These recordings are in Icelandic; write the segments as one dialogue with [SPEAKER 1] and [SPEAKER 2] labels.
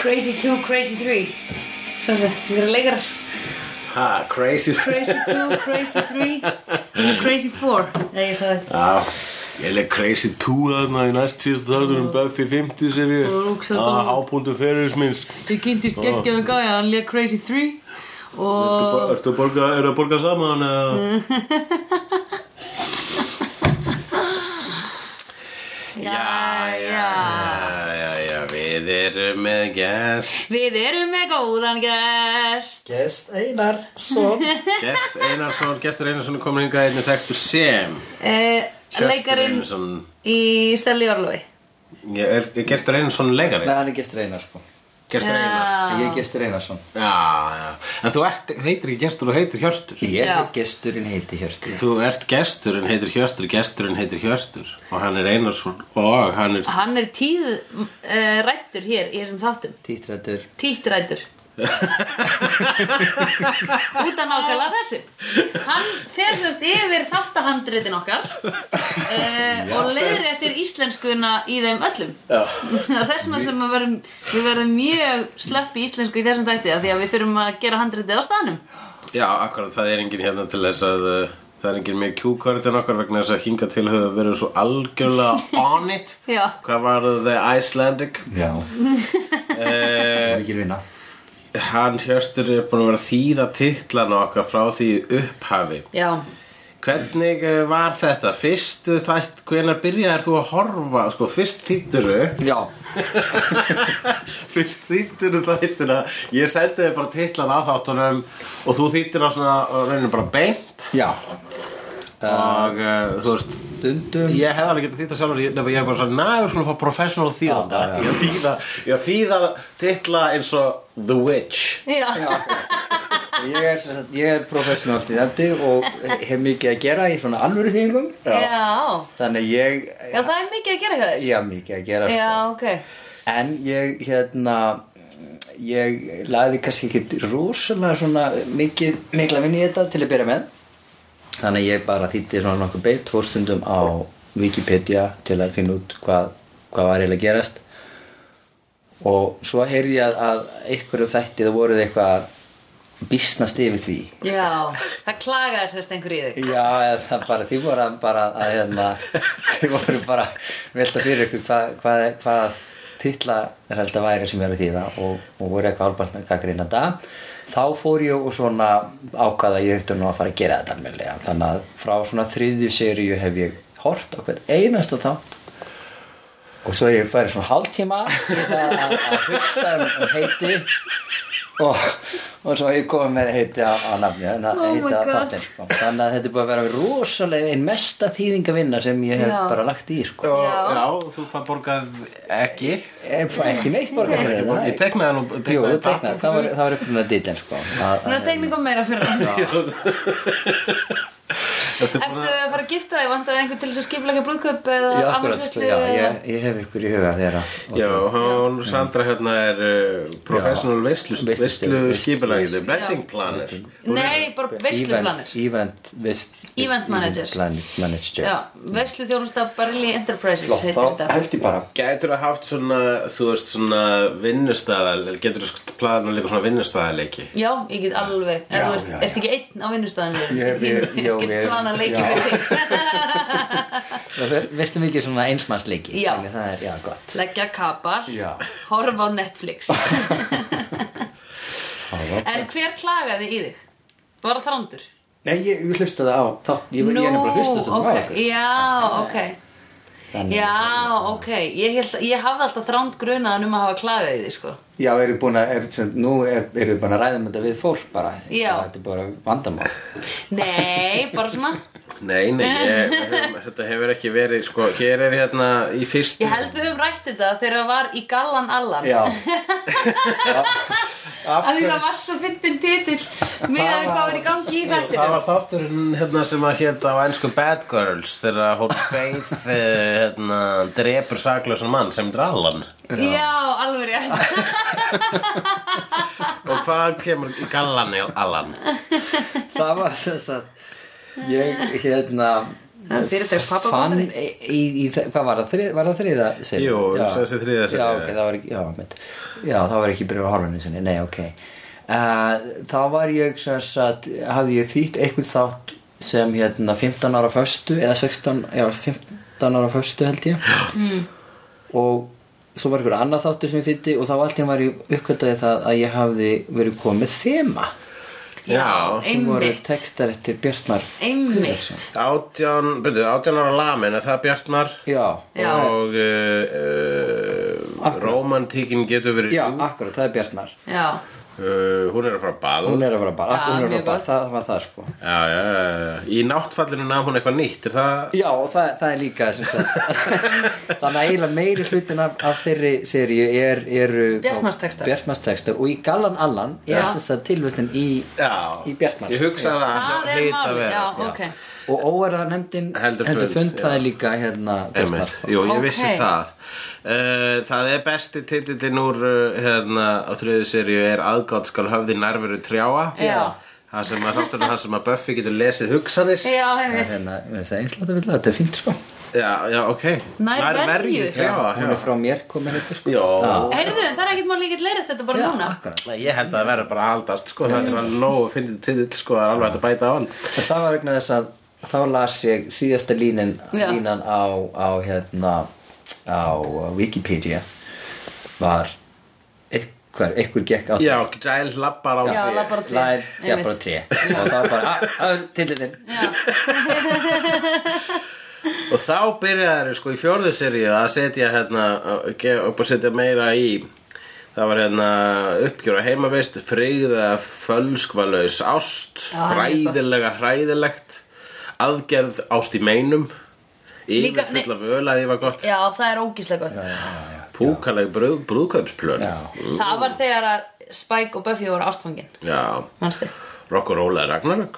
[SPEAKER 1] Crazy 2, Crazy 3 Svo þessi, þetta eru leikarar
[SPEAKER 2] Ha, crazy
[SPEAKER 1] Crazy 2, Crazy 3 og Crazy 4 Eða ég sagði þetta
[SPEAKER 2] Já, ég leik Crazy 2 þarna í næst síðast þáttur um Buffy 50 seríu
[SPEAKER 1] Og Rúksar
[SPEAKER 2] Það
[SPEAKER 1] Ball.
[SPEAKER 2] ábúndu ferils minns
[SPEAKER 1] Þau kynntist geggjað og gája, hann leik Crazy 3
[SPEAKER 2] Ertu
[SPEAKER 1] og
[SPEAKER 2] bo- Ertu að borga, eru að borga saman
[SPEAKER 1] Mm.
[SPEAKER 2] eða?
[SPEAKER 1] Já, já
[SPEAKER 2] já, já, við erum með gest
[SPEAKER 1] Við erum með góðan gæst
[SPEAKER 3] Gest Einar Són
[SPEAKER 2] Gest Einarsson, gestur Einarsson er komin hingað einnig þekktur sem
[SPEAKER 1] eh,
[SPEAKER 2] Hjörtur
[SPEAKER 1] Leikarinn
[SPEAKER 2] Einarsson
[SPEAKER 1] í Stelli Orlofi
[SPEAKER 2] Ég er, er Gestur Einarsson leikari?
[SPEAKER 3] Nei, hann er Gestur Einar sko
[SPEAKER 2] Gestur Einar
[SPEAKER 1] Ah.
[SPEAKER 3] Ég er Gestur Einarsson
[SPEAKER 2] Já, já, en þú ert, heitir ekki Gestur, þú heitir Hjörtur
[SPEAKER 3] Ég er
[SPEAKER 1] Já.
[SPEAKER 3] Gesturinn heiti Hjörtur
[SPEAKER 2] Þú ert Gestur en heitir Hjörtur, Gesturinn heitir Hjörtur og hann er Einarsson og hann er
[SPEAKER 1] Hann er tíð eh, rættur hér í þessum þáttum
[SPEAKER 3] Títrættur
[SPEAKER 1] Títtrætur Út af nákvæmlega þessu Hann fer sérst yfir þáttahandritin okkar uh, og leiðir eftir íslenskuna í þeim öllum Það er þessum sem við verðum, við verðum mjög slepp í íslensku í þessum þætti af því að við þurfum að gera handritið á staðnum
[SPEAKER 2] Já, akkurat, það er enginn hérna til þess að uh, það er enginn með Q-kort en okkar vegna þess að hinga til höfum verið svo algjörlega on it
[SPEAKER 1] Já.
[SPEAKER 2] Hvað var það, The Icelandic? Eh,
[SPEAKER 3] Já Það er ekki Eh, vinna
[SPEAKER 2] Hann Hjörtur er búin að vera að þýða titlana okkar frá því í upphafi
[SPEAKER 1] Já,
[SPEAKER 2] Hvernig eh, var þetta? Fyrst eh, þætt, hvenær byrjaðir þú að horfa? Sko, fyrst þýtturu
[SPEAKER 3] Já
[SPEAKER 2] Fyrst þýtturu þættina Ég sendi þér bara titlan að þáttunum Og þú þýttir á svona, og reynir bara beint
[SPEAKER 3] Já Eh,
[SPEAKER 2] Og, uh, þú veist
[SPEAKER 3] Dundum
[SPEAKER 2] Ég hef alveg getað þýtta sjálfur ég- Nefnir ég er bara svona, næ, við skulum fá professional þýðanda
[SPEAKER 3] Já, já, já.
[SPEAKER 2] Ég þýða, ég þýða titla eins og The Witch
[SPEAKER 1] já,
[SPEAKER 3] Ég er, sem sagt- ég er professional stýðandi og hef mikið að gera í svona alvöru þýðingum
[SPEAKER 1] já.
[SPEAKER 3] Þannig ég
[SPEAKER 1] Já, það er mikið að gera hjá þér
[SPEAKER 3] Ég hef mikið að gera sko.
[SPEAKER 1] Já, ok
[SPEAKER 3] En ég hérna ég lagði kannski ekki rosalega svona mikið, mikla vinni í þetta til að byrja með þannig að ég bara þýtti svona nokkuð beitt tvo stundum á Wikipedia til að finna út hvað, hvað var eiginlega að gerast og svo heyrði ég að, að einhverju þætti það voruð eitthvað býsnast yfir því
[SPEAKER 1] Já, það klagaði sérst einhver í þig
[SPEAKER 3] Já, eða það bara, þið voru að- bara að, hérna, þið voru bara að velta fyrir ykkur hvað, hvað, hvað titla er held að væri sem ég er að þýða og, og voru eitthvað álbarnar gaggrinna þetta. Þá fór ég og svona ákvaða ég þurfti nú að fara að gera þetta almennilega. Þannig að frá svona þriðju seríu hef ég hort á hvern einasta þátt og svo ég færi svona hálftíma í það að, að hugsa um, um heiti og, og svo ég kom með heiti á, á nafni þannig að
[SPEAKER 1] Oh my
[SPEAKER 3] heiti á
[SPEAKER 1] God.
[SPEAKER 3] þáttinn sko. þannig að þetta er búið að vera rosalega einn mesta þýðingavinna sem ég hef
[SPEAKER 1] Já.
[SPEAKER 3] bara lagt í sko.
[SPEAKER 2] Og,
[SPEAKER 1] Já.
[SPEAKER 2] já, þú hvað borgað ekki
[SPEAKER 3] ég fæ ekki neitt borgar fyrir
[SPEAKER 2] Ég
[SPEAKER 3] þetta
[SPEAKER 2] teknaði nú teknaði
[SPEAKER 3] Jú, þú
[SPEAKER 2] tattoo
[SPEAKER 3] teiknar, það var, það var upplunar dillin sko. Að-
[SPEAKER 1] Nú
[SPEAKER 3] að-
[SPEAKER 1] er tekningum meira fyrir hann Ertu
[SPEAKER 2] Þetta er bara
[SPEAKER 1] að fara að gifta þig? Vandaði einhver til þess að skipleika brúðkaup eða
[SPEAKER 3] Já, akkurat, sko,
[SPEAKER 1] afmælisveislu
[SPEAKER 3] já,
[SPEAKER 1] eða-
[SPEAKER 3] ég, ég hef ykkur í huga þeirra
[SPEAKER 2] Já, hún Sandra hérna er uh, professional veislu,
[SPEAKER 3] Veislustjóri,
[SPEAKER 2] veislu
[SPEAKER 3] veislu-
[SPEAKER 2] skipulægði, wedding planner
[SPEAKER 1] Nei, bara veisluplaner
[SPEAKER 3] Event, event,
[SPEAKER 1] Event manager.
[SPEAKER 3] event manager
[SPEAKER 1] Já, veisluþjónusta Barley Enterprises
[SPEAKER 3] Flott,
[SPEAKER 1] heitir
[SPEAKER 3] þá
[SPEAKER 1] þetta
[SPEAKER 3] held ég bara
[SPEAKER 2] Gætur að haft svona, þú veist, svona vinnustæðal, getur að plana líka svona vinnustæðaleiki
[SPEAKER 1] Já, ég get alveg En
[SPEAKER 3] Já,
[SPEAKER 1] þú ert-
[SPEAKER 3] já,
[SPEAKER 1] ert ekki einn á vinnustæðinu
[SPEAKER 3] Ég hef- ég- já,
[SPEAKER 1] Ég
[SPEAKER 3] ég-
[SPEAKER 1] get plana leiki
[SPEAKER 3] já.
[SPEAKER 1] fyrir þig
[SPEAKER 3] Veistu mikið svona einsmannsleiki?
[SPEAKER 1] Já.
[SPEAKER 3] Þannig Það er, já, gott.
[SPEAKER 1] Leggja kapar
[SPEAKER 3] Já.
[SPEAKER 1] Horfa á Netflix En hver klagaði í þig? Bara þrándur?
[SPEAKER 3] Nei, ég, ég hlusta það á þátt, ég, ég er nefnilega að hlusta það á
[SPEAKER 1] ok,
[SPEAKER 3] okkur.
[SPEAKER 1] já, ok
[SPEAKER 3] Þannig,
[SPEAKER 1] Já, ok, ég, held, ég hafði alltaf þránd grunaðan um að hafa klagað í því, sko
[SPEAKER 3] já, eru búin að, er, sem, nú er, eru búin að ræða um þetta við fólk bara.
[SPEAKER 1] Já.
[SPEAKER 3] Þetta er bara vandamál.
[SPEAKER 1] Nei, bara svona
[SPEAKER 2] Nei, nei, ég, við höfum, Eh, þetta hefur ekki verið, sko, hér er hérna í fyrstu
[SPEAKER 1] Ég held við höfum rætt þetta þegar það var í Gallan Allan
[SPEAKER 3] Já,
[SPEAKER 1] Af því það var svo fyndin titill með að við hvað var í gangi í þetta
[SPEAKER 2] Það var þátturinn hérna sem að hérna á ennsku Bad Girls þegar hún Faith eh, hérna, drepur saklausan mann sem drallan
[SPEAKER 1] Já, alveg rétt
[SPEAKER 2] Og hvað kemur í gallan í allan?
[SPEAKER 3] það var þess að ég, hérna,
[SPEAKER 1] Fyrirtags
[SPEAKER 3] fann
[SPEAKER 1] pappabandari
[SPEAKER 3] í, í, í, hvað var það, þrið, var það þriða serið?
[SPEAKER 2] Jú, þessi þriðja
[SPEAKER 3] já,
[SPEAKER 2] sería.
[SPEAKER 3] ok, það var ekki, já, mynd, já, það var ekki byrjað á horfinu sinni, nei, ok uh, þá var ég sem sagt, hafði ég þýtt einhvern þátt sem hérna 15 ára föstu eða 16, já, 15 ára föstu held ég mm. og svo var einhver annað þáttur sem ég þýtti og þá allt ég var ég uppkvöldaði það að ég hafði verið komið þema
[SPEAKER 2] Já,
[SPEAKER 3] sem voru
[SPEAKER 1] Einmitt.
[SPEAKER 3] textar eftir Bjartmar
[SPEAKER 1] Einmitt
[SPEAKER 2] átján, byrju, átján ára lamin er það Bjartmar
[SPEAKER 3] já,
[SPEAKER 1] Já.
[SPEAKER 2] og uh, uh,
[SPEAKER 3] Akkurat.
[SPEAKER 2] romantíkin getur verið
[SPEAKER 3] já,
[SPEAKER 2] sú
[SPEAKER 3] akkurat, það er Bjartmar
[SPEAKER 1] Já,
[SPEAKER 2] uh, hún er að fara að baða
[SPEAKER 3] hún er að fara
[SPEAKER 1] Já,
[SPEAKER 3] bara, hún er að fara
[SPEAKER 1] mjög
[SPEAKER 3] bara,
[SPEAKER 1] gott.
[SPEAKER 3] það var það sko
[SPEAKER 2] já, já, já, já. í náttfallinu nam hún eitthvað nýtt er það
[SPEAKER 3] já og það, það er líka sem sagt. þannig að eiginlega meiri hlutin af, af þeirri seríu er, eru
[SPEAKER 1] Bjartmarstextar.
[SPEAKER 3] Bjartmarstextar og í Gallan Allan er
[SPEAKER 1] Já.
[SPEAKER 3] þess að tilvöldin í,
[SPEAKER 2] já,
[SPEAKER 3] í Bjartmar
[SPEAKER 2] ég hugsaði að
[SPEAKER 1] það er
[SPEAKER 2] hlýta
[SPEAKER 1] málið
[SPEAKER 2] vera
[SPEAKER 1] Já,
[SPEAKER 2] sko.
[SPEAKER 1] ok
[SPEAKER 3] og óerða nefndin
[SPEAKER 2] Heldur fund,
[SPEAKER 3] fund
[SPEAKER 2] já.
[SPEAKER 3] það er líka hérna Bjartmar
[SPEAKER 2] Einmitt, jú, ég
[SPEAKER 1] Ok.
[SPEAKER 2] vissi það uh, Það er besti titillin úr uh, hérna, á þriðu seríu er aðgátt skal höfði nærveru trjáa
[SPEAKER 1] Já.
[SPEAKER 2] Það sem að þátturinn það sem að Buffy getur lesið hugsanir
[SPEAKER 1] Já,
[SPEAKER 3] það er
[SPEAKER 1] einmitt
[SPEAKER 3] hérna, ég veist að einsláta vilja þetta er fínt sko
[SPEAKER 2] Já, já, ok
[SPEAKER 1] Nærveru.
[SPEAKER 2] trjáa
[SPEAKER 3] hún er frá mér komin hérna sko
[SPEAKER 2] Já.
[SPEAKER 1] Heyrðu, það er ekkert mál líkitt leirist þetta bara
[SPEAKER 3] Já,
[SPEAKER 1] núna
[SPEAKER 3] akkurat.
[SPEAKER 2] Nei, Ég held að það verður bara að haldast sko, það er alveg nógu að finna titill sko, það er alveg hægt að bæta á hann
[SPEAKER 3] En það var vegna þess að þá las ég síðasta línin,
[SPEAKER 1] Já.
[SPEAKER 3] línan á, á, hérna, á Wikipedia var eitthvað, eitthvað gekk á
[SPEAKER 2] Já, Giles labbar á
[SPEAKER 1] Já,
[SPEAKER 2] tré.
[SPEAKER 1] labbar- bara tré.
[SPEAKER 3] Lær, já,
[SPEAKER 1] Einmitt.
[SPEAKER 3] bara tré og það var bara, "Ah, að, tillitinn
[SPEAKER 2] og þá byrjaði sko í fjórðu seríu að setja hérna, að ge- upp að setja meira í það var hérna uppgjöra heimavist, frigða fölskvalaus ást
[SPEAKER 1] Já, það er mjög gott.
[SPEAKER 2] hræðilega hræðilegt aðgerð ást í meinum
[SPEAKER 1] Líka-
[SPEAKER 2] yfir fulla völa því var gott
[SPEAKER 1] Já, það er ógíslega gott
[SPEAKER 2] púkaleg brúð, brúðkaupsplön
[SPEAKER 3] Já.
[SPEAKER 1] Það var þegar að Spike og Buffy voru ástfangin
[SPEAKER 2] Já.
[SPEAKER 1] Manstu?
[SPEAKER 2] Rock and Roll er Ragnarök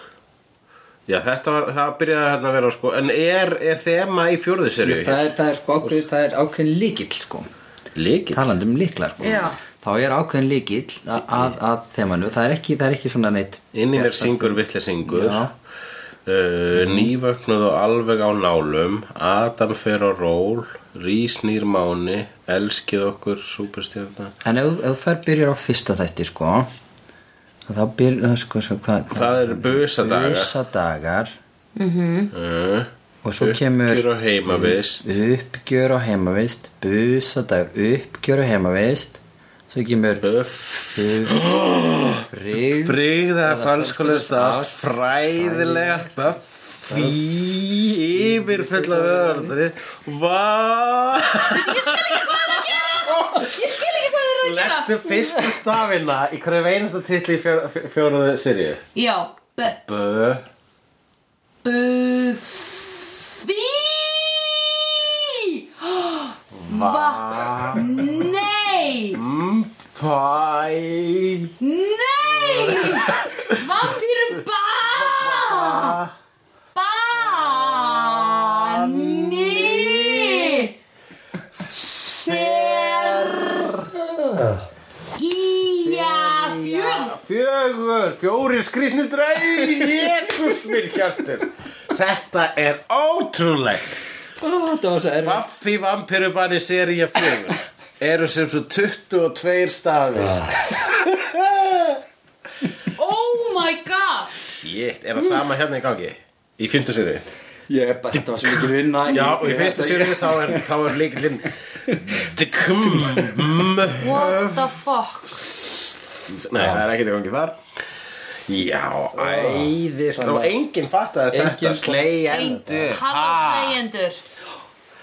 [SPEAKER 2] Já, þetta var, það byrjaði hérna að vera sko En er, er þema í fjórðu serju?
[SPEAKER 3] það er, það er sko ákveð, það er ákveðin líkill sko,
[SPEAKER 2] Líkill
[SPEAKER 3] talandi um líklar sko
[SPEAKER 1] Já.
[SPEAKER 3] þá er ákveðin líkill að, að, að þemanu, það er ekki, það er ekki svona neitt
[SPEAKER 2] Inn í mér syngur vittlesingur uh,
[SPEAKER 3] Já.
[SPEAKER 2] Nývöknuð og alveg á nálum Adam fer á ról Rísnýr máni Elskið okkur, superstjörna
[SPEAKER 3] en ef ef þú fer byrjar á fyrsta þætti sko þá byrjar, sko, sko hvað
[SPEAKER 2] Það eru busadagar.
[SPEAKER 3] busadagar
[SPEAKER 2] uh,
[SPEAKER 3] og svo kemur
[SPEAKER 2] Uppgjör á heimavist
[SPEAKER 3] uppgjör á heimavist busadagur, uppgjör á heimavist svo kemur
[SPEAKER 2] Buff
[SPEAKER 3] frið
[SPEAKER 2] Brygða falskulegst ást Fræðilega Buffy Yfir fulla öðrundri Vá
[SPEAKER 1] Ég skil ekki hvað þeir eru að gera
[SPEAKER 2] Lestu fyrstu stafina í hverju einasta titli í fjör, fjóruðu sirju
[SPEAKER 1] Já, bu
[SPEAKER 2] Bö
[SPEAKER 1] Buffy Va Nei
[SPEAKER 2] Mm, Pæ
[SPEAKER 1] Nei Vampíru Ba Ba Ni Ser Ía Fjör
[SPEAKER 2] Fjögur, fjórir skrýtnu draug Jésús minn hjartur Þetta er ótrúlegt
[SPEAKER 3] oh, það var svo erfið
[SPEAKER 2] Buffy vampirubanni sirja fjögur Eru sem svo 22 stafir
[SPEAKER 1] Oh my god
[SPEAKER 2] Shit, er það sama hérna í gangi? Í fymtu sirju?
[SPEAKER 3] ég er bara, þetta var svo mikil vinna
[SPEAKER 2] Já, og í
[SPEAKER 3] Ég-
[SPEAKER 2] fymtu sirju þá er, þá er líkilinn Dkum
[SPEAKER 1] What the fuck
[SPEAKER 2] Nei, það er ekkert í gangi þar Já, æðist Og enginn fattaði þetta sko.
[SPEAKER 3] Enginn-
[SPEAKER 2] Slegjendur
[SPEAKER 1] Halló slegjendur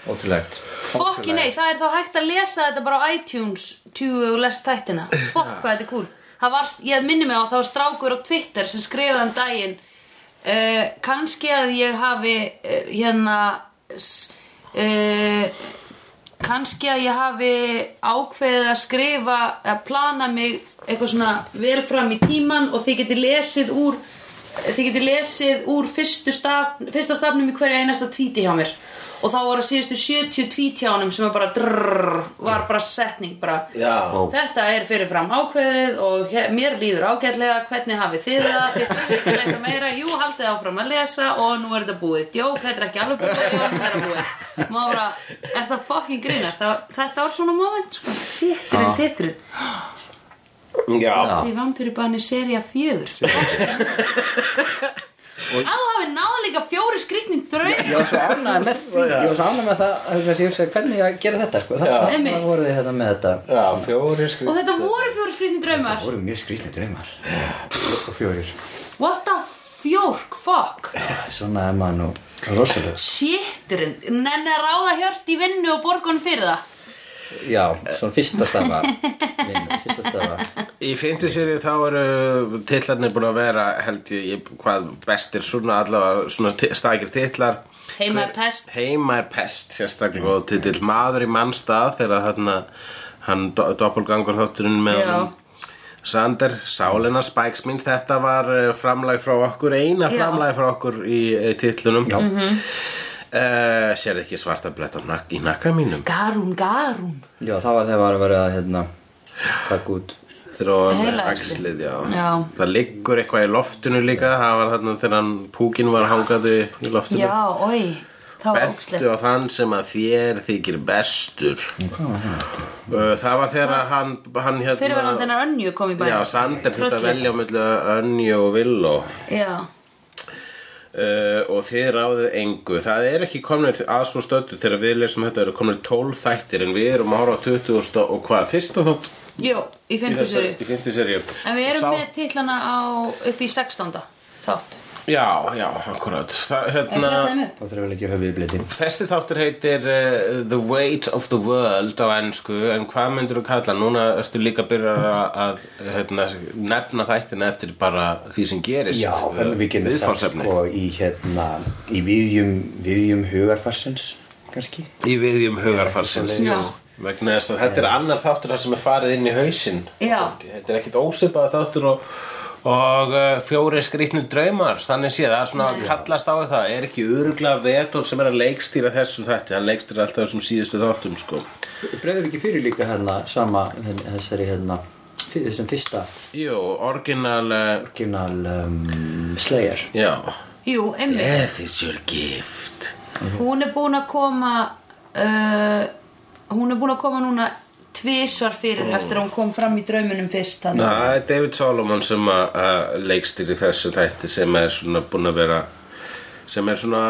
[SPEAKER 3] ótrúlegt
[SPEAKER 1] Fokki nei, það er þá hægt að lesa þetta bara á iTunes 20 og lest þættina Fokk hvað þetta er cool Það var, ég minni mig á, það var strákur á Twitter sem skrifaði um daginn uh, kannski að ég hafi uh, hérna uh, kannski að ég hafi ákveðið að skrifa að plana mig eitthvað svona vera fram í tíman og þið geti lesið úr þið geti lesið úr fyrstu staf, fyrsta stafnum í hverju einasta tvíti hjá mér og þá voru síðustu 70 tvítjánum sem var bara drrrr, var bara setning bara
[SPEAKER 2] Já,
[SPEAKER 1] Þetta er fyrirfram ákveðið og he- mér líður ágætlega hvernig hafið þið það, þið þurfið ekki að lesa meira, jú haldið áfram að lesa og nú er þetta búið, djók, þetta er ekki alveg búið, djók, þetta er búið. Mára, er það fucking grínast, það, þetta var svona moment, sko, sétturinn, titturinn,
[SPEAKER 2] já,
[SPEAKER 1] því vampyrubanni seria fjögur, sko. Að þú hafið náð líka fjóri skrýtning draug,
[SPEAKER 3] Ég var svo ánægð með því Ég var svo ánægð með það að hugsa, ég hugsaði hvernig ég á að gera þetta sko. Það
[SPEAKER 1] Einmitt.
[SPEAKER 3] það voru þið hérna með þetta
[SPEAKER 2] já fjóri skrið
[SPEAKER 1] og þetta voru fjóri skrýtning draumar,
[SPEAKER 3] Það voru mjög skrýtni draumar Fjórir og fjórir
[SPEAKER 1] what the fjórk, fuck.
[SPEAKER 3] Svona er maður nú rosalega
[SPEAKER 1] Sétturinn, nenni að ráða hjörst í vinnu og borgun fyrir það
[SPEAKER 3] Já, svona fyrsta stafa Vinnu, fyrsta stafa
[SPEAKER 2] Í fyndu sérið þá eru titlarnir búin að vera held ég, ég hvað bestir svona allavega svona ti- stakir titlar
[SPEAKER 1] Heima er pest.
[SPEAKER 2] Heima er pest sérstaklega mm. og titill Maður í mannstað þegar þarna hann do, doppelgangur þátturinn með
[SPEAKER 1] Já.
[SPEAKER 2] honum. Sander, Sálina Spikes minnst þetta var eh, framlag frá okkur eina
[SPEAKER 1] Já. Mhm.
[SPEAKER 2] framlag frá okkur í eh, titlunum mm -hmm. Uh, sér ekki svarta blett á nak í nakka mínum
[SPEAKER 1] Garún, garún
[SPEAKER 3] Já, það var þegar maður var að hérna Takk út
[SPEAKER 2] þróan með
[SPEAKER 1] Heilaæxli.
[SPEAKER 2] eh, axlið já.
[SPEAKER 1] Já.
[SPEAKER 2] það liggur eitthvað í loftinu líka það var þarna þegar hann púkin var hangandi í loftinu
[SPEAKER 1] Já, oi, það var ógslegt
[SPEAKER 2] bentu á þann sem að þér þykir bestur
[SPEAKER 3] Hvað var það? aftur?
[SPEAKER 2] Uh, það var þegar
[SPEAKER 1] Ah.
[SPEAKER 2] að hann, hann hérna,
[SPEAKER 1] Fyrirverðandennar önju kom í bæ
[SPEAKER 2] já, Sander þurfti að
[SPEAKER 1] Trölli.
[SPEAKER 2] velja á milli Önju og Villó uh,
[SPEAKER 1] Já,
[SPEAKER 2] og þið ráðið engu það er ekki komnir að svo stöldu þegar við lesum þetta eru komnir 12 þættir en við erum að horfa á 20 og, og hvað, fyrsta þátt
[SPEAKER 1] jú, í
[SPEAKER 2] í
[SPEAKER 1] 50
[SPEAKER 2] þessari-
[SPEAKER 1] seri
[SPEAKER 2] í 50 seríu
[SPEAKER 1] En við erum með titlana á upp í 16. þátt
[SPEAKER 2] já, já, akkurat það,
[SPEAKER 1] Er
[SPEAKER 2] hérna,
[SPEAKER 1] þetta þeim upp?
[SPEAKER 3] Það þarf vel ekki höfðið í bliti
[SPEAKER 2] Þessi þáttur heitir uh, The Weight of the World á ennsku en hvað myndir þú kalla? hann? Núna ertu líka að byrja að hérna, nefna þættina eftir bara því sem gerist eh,
[SPEAKER 3] Já, en við getum sagt
[SPEAKER 2] viðfangsefni.
[SPEAKER 3] sko í hérna Í viðjum, viðjum hugarfarsins kannski
[SPEAKER 2] Í viðjum hugarfarsins
[SPEAKER 1] Já.
[SPEAKER 2] vegna þess að
[SPEAKER 3] Eh.
[SPEAKER 2] þetta er annar þáttur þar sem er farið inn í hausinn
[SPEAKER 1] Já.
[SPEAKER 2] Þetta er ekkit ósipað þáttur og og uh, fjóri skrýtnu draumar þannig sé það er svona að kallast á það er ekki öruglega vetur sem er að leikstýra þessum þætti, hann leikstýra alltaf þessum síðustu þáttum sko.
[SPEAKER 3] Breiður ekki fyrir líka hérna sama hérna, þessari hérna fyr- þessum fyrsta
[SPEAKER 2] Jú, orginal uh,
[SPEAKER 3] original um, Slayer
[SPEAKER 2] Já
[SPEAKER 1] Jú, einmitt
[SPEAKER 2] Death is your gift
[SPEAKER 1] Hún er búin að koma uh, Hún er búin að koma núna tvisvar fyrir eftir að hún kom fram í draumunum fyrst þannig að-
[SPEAKER 2] Það er David Solomon sem að- að leikstýri þessu þætti sem er svona búin að vera sem er svona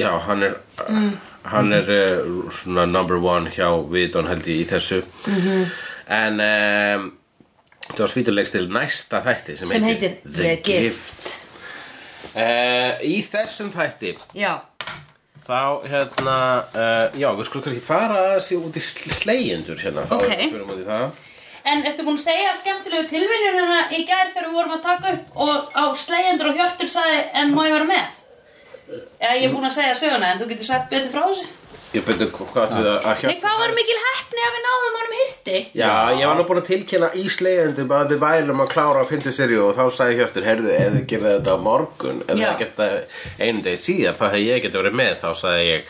[SPEAKER 2] já, hann er
[SPEAKER 1] Mm.
[SPEAKER 2] hann er eh, svona number one hjá Vidon held ég í þessu
[SPEAKER 1] Mhm.
[SPEAKER 2] -hmm. en um, það var svítur leikstil næsta þætti sem,
[SPEAKER 1] sem heitir The Gift
[SPEAKER 2] Uh, í þessum þætti
[SPEAKER 1] Já,
[SPEAKER 2] Þá, hérna, uh, já, við skulum kannski fara að sé út í slegjendur hérna, þá
[SPEAKER 1] Ok.
[SPEAKER 2] fyrir mútið það.
[SPEAKER 1] En ertu búin að segja skemmtilegu tilviljunina í gær þegar við vorum að taka upp og á slegjendur og hjörtur sagði en má ég vera með? Já, ég er búin að segja söguna en þú getur sagt betur frá þessu.
[SPEAKER 2] Ég byrju, hvað ætlum við að hjálpa?
[SPEAKER 1] Nei, hvað var mikil heppni að við náðum honum hirti?
[SPEAKER 2] Já, ég var nú búin að tilkynna í slegjendum að við værum að klára að fyndu serju og þá sagði Hjörtur, heyrðu, ef þið gerði þetta á morgun, ef
[SPEAKER 1] Já.
[SPEAKER 2] þið gerði þetta einu degi síðar, þá hefði ég getið verið með, þá sagði ég,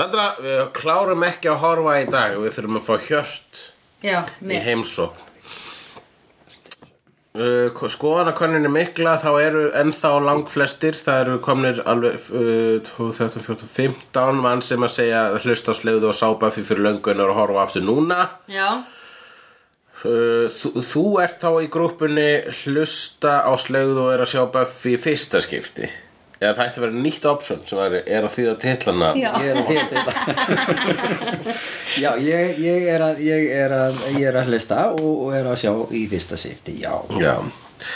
[SPEAKER 2] Sandra, við klárum ekki að horfa í dag, við þurfum að fá Hjört
[SPEAKER 1] Já,
[SPEAKER 2] í
[SPEAKER 1] með.
[SPEAKER 2] heimsókn uh, skoðanakönnin er mikla þá eru ennþá langflestir það eru komnir alveg uh, 12, 13, 14, 15 mann sem að segja hlusta á slegðu og sápa fyrir löngun og horfa aftur núna
[SPEAKER 1] Já,
[SPEAKER 2] Uh, þú, þú ert þá í grúppunni hlusta á slegðu og er að sjá Buffy í fyrsta skipti eða það ætti að vera nýtt option sem er, er að þýða titlana
[SPEAKER 1] já.
[SPEAKER 3] Ég er að þýða til Já, ég, ég, er að, ég, er að, ég er að hlusta og, og er að sjá í fyrsta sifti, já
[SPEAKER 2] Já.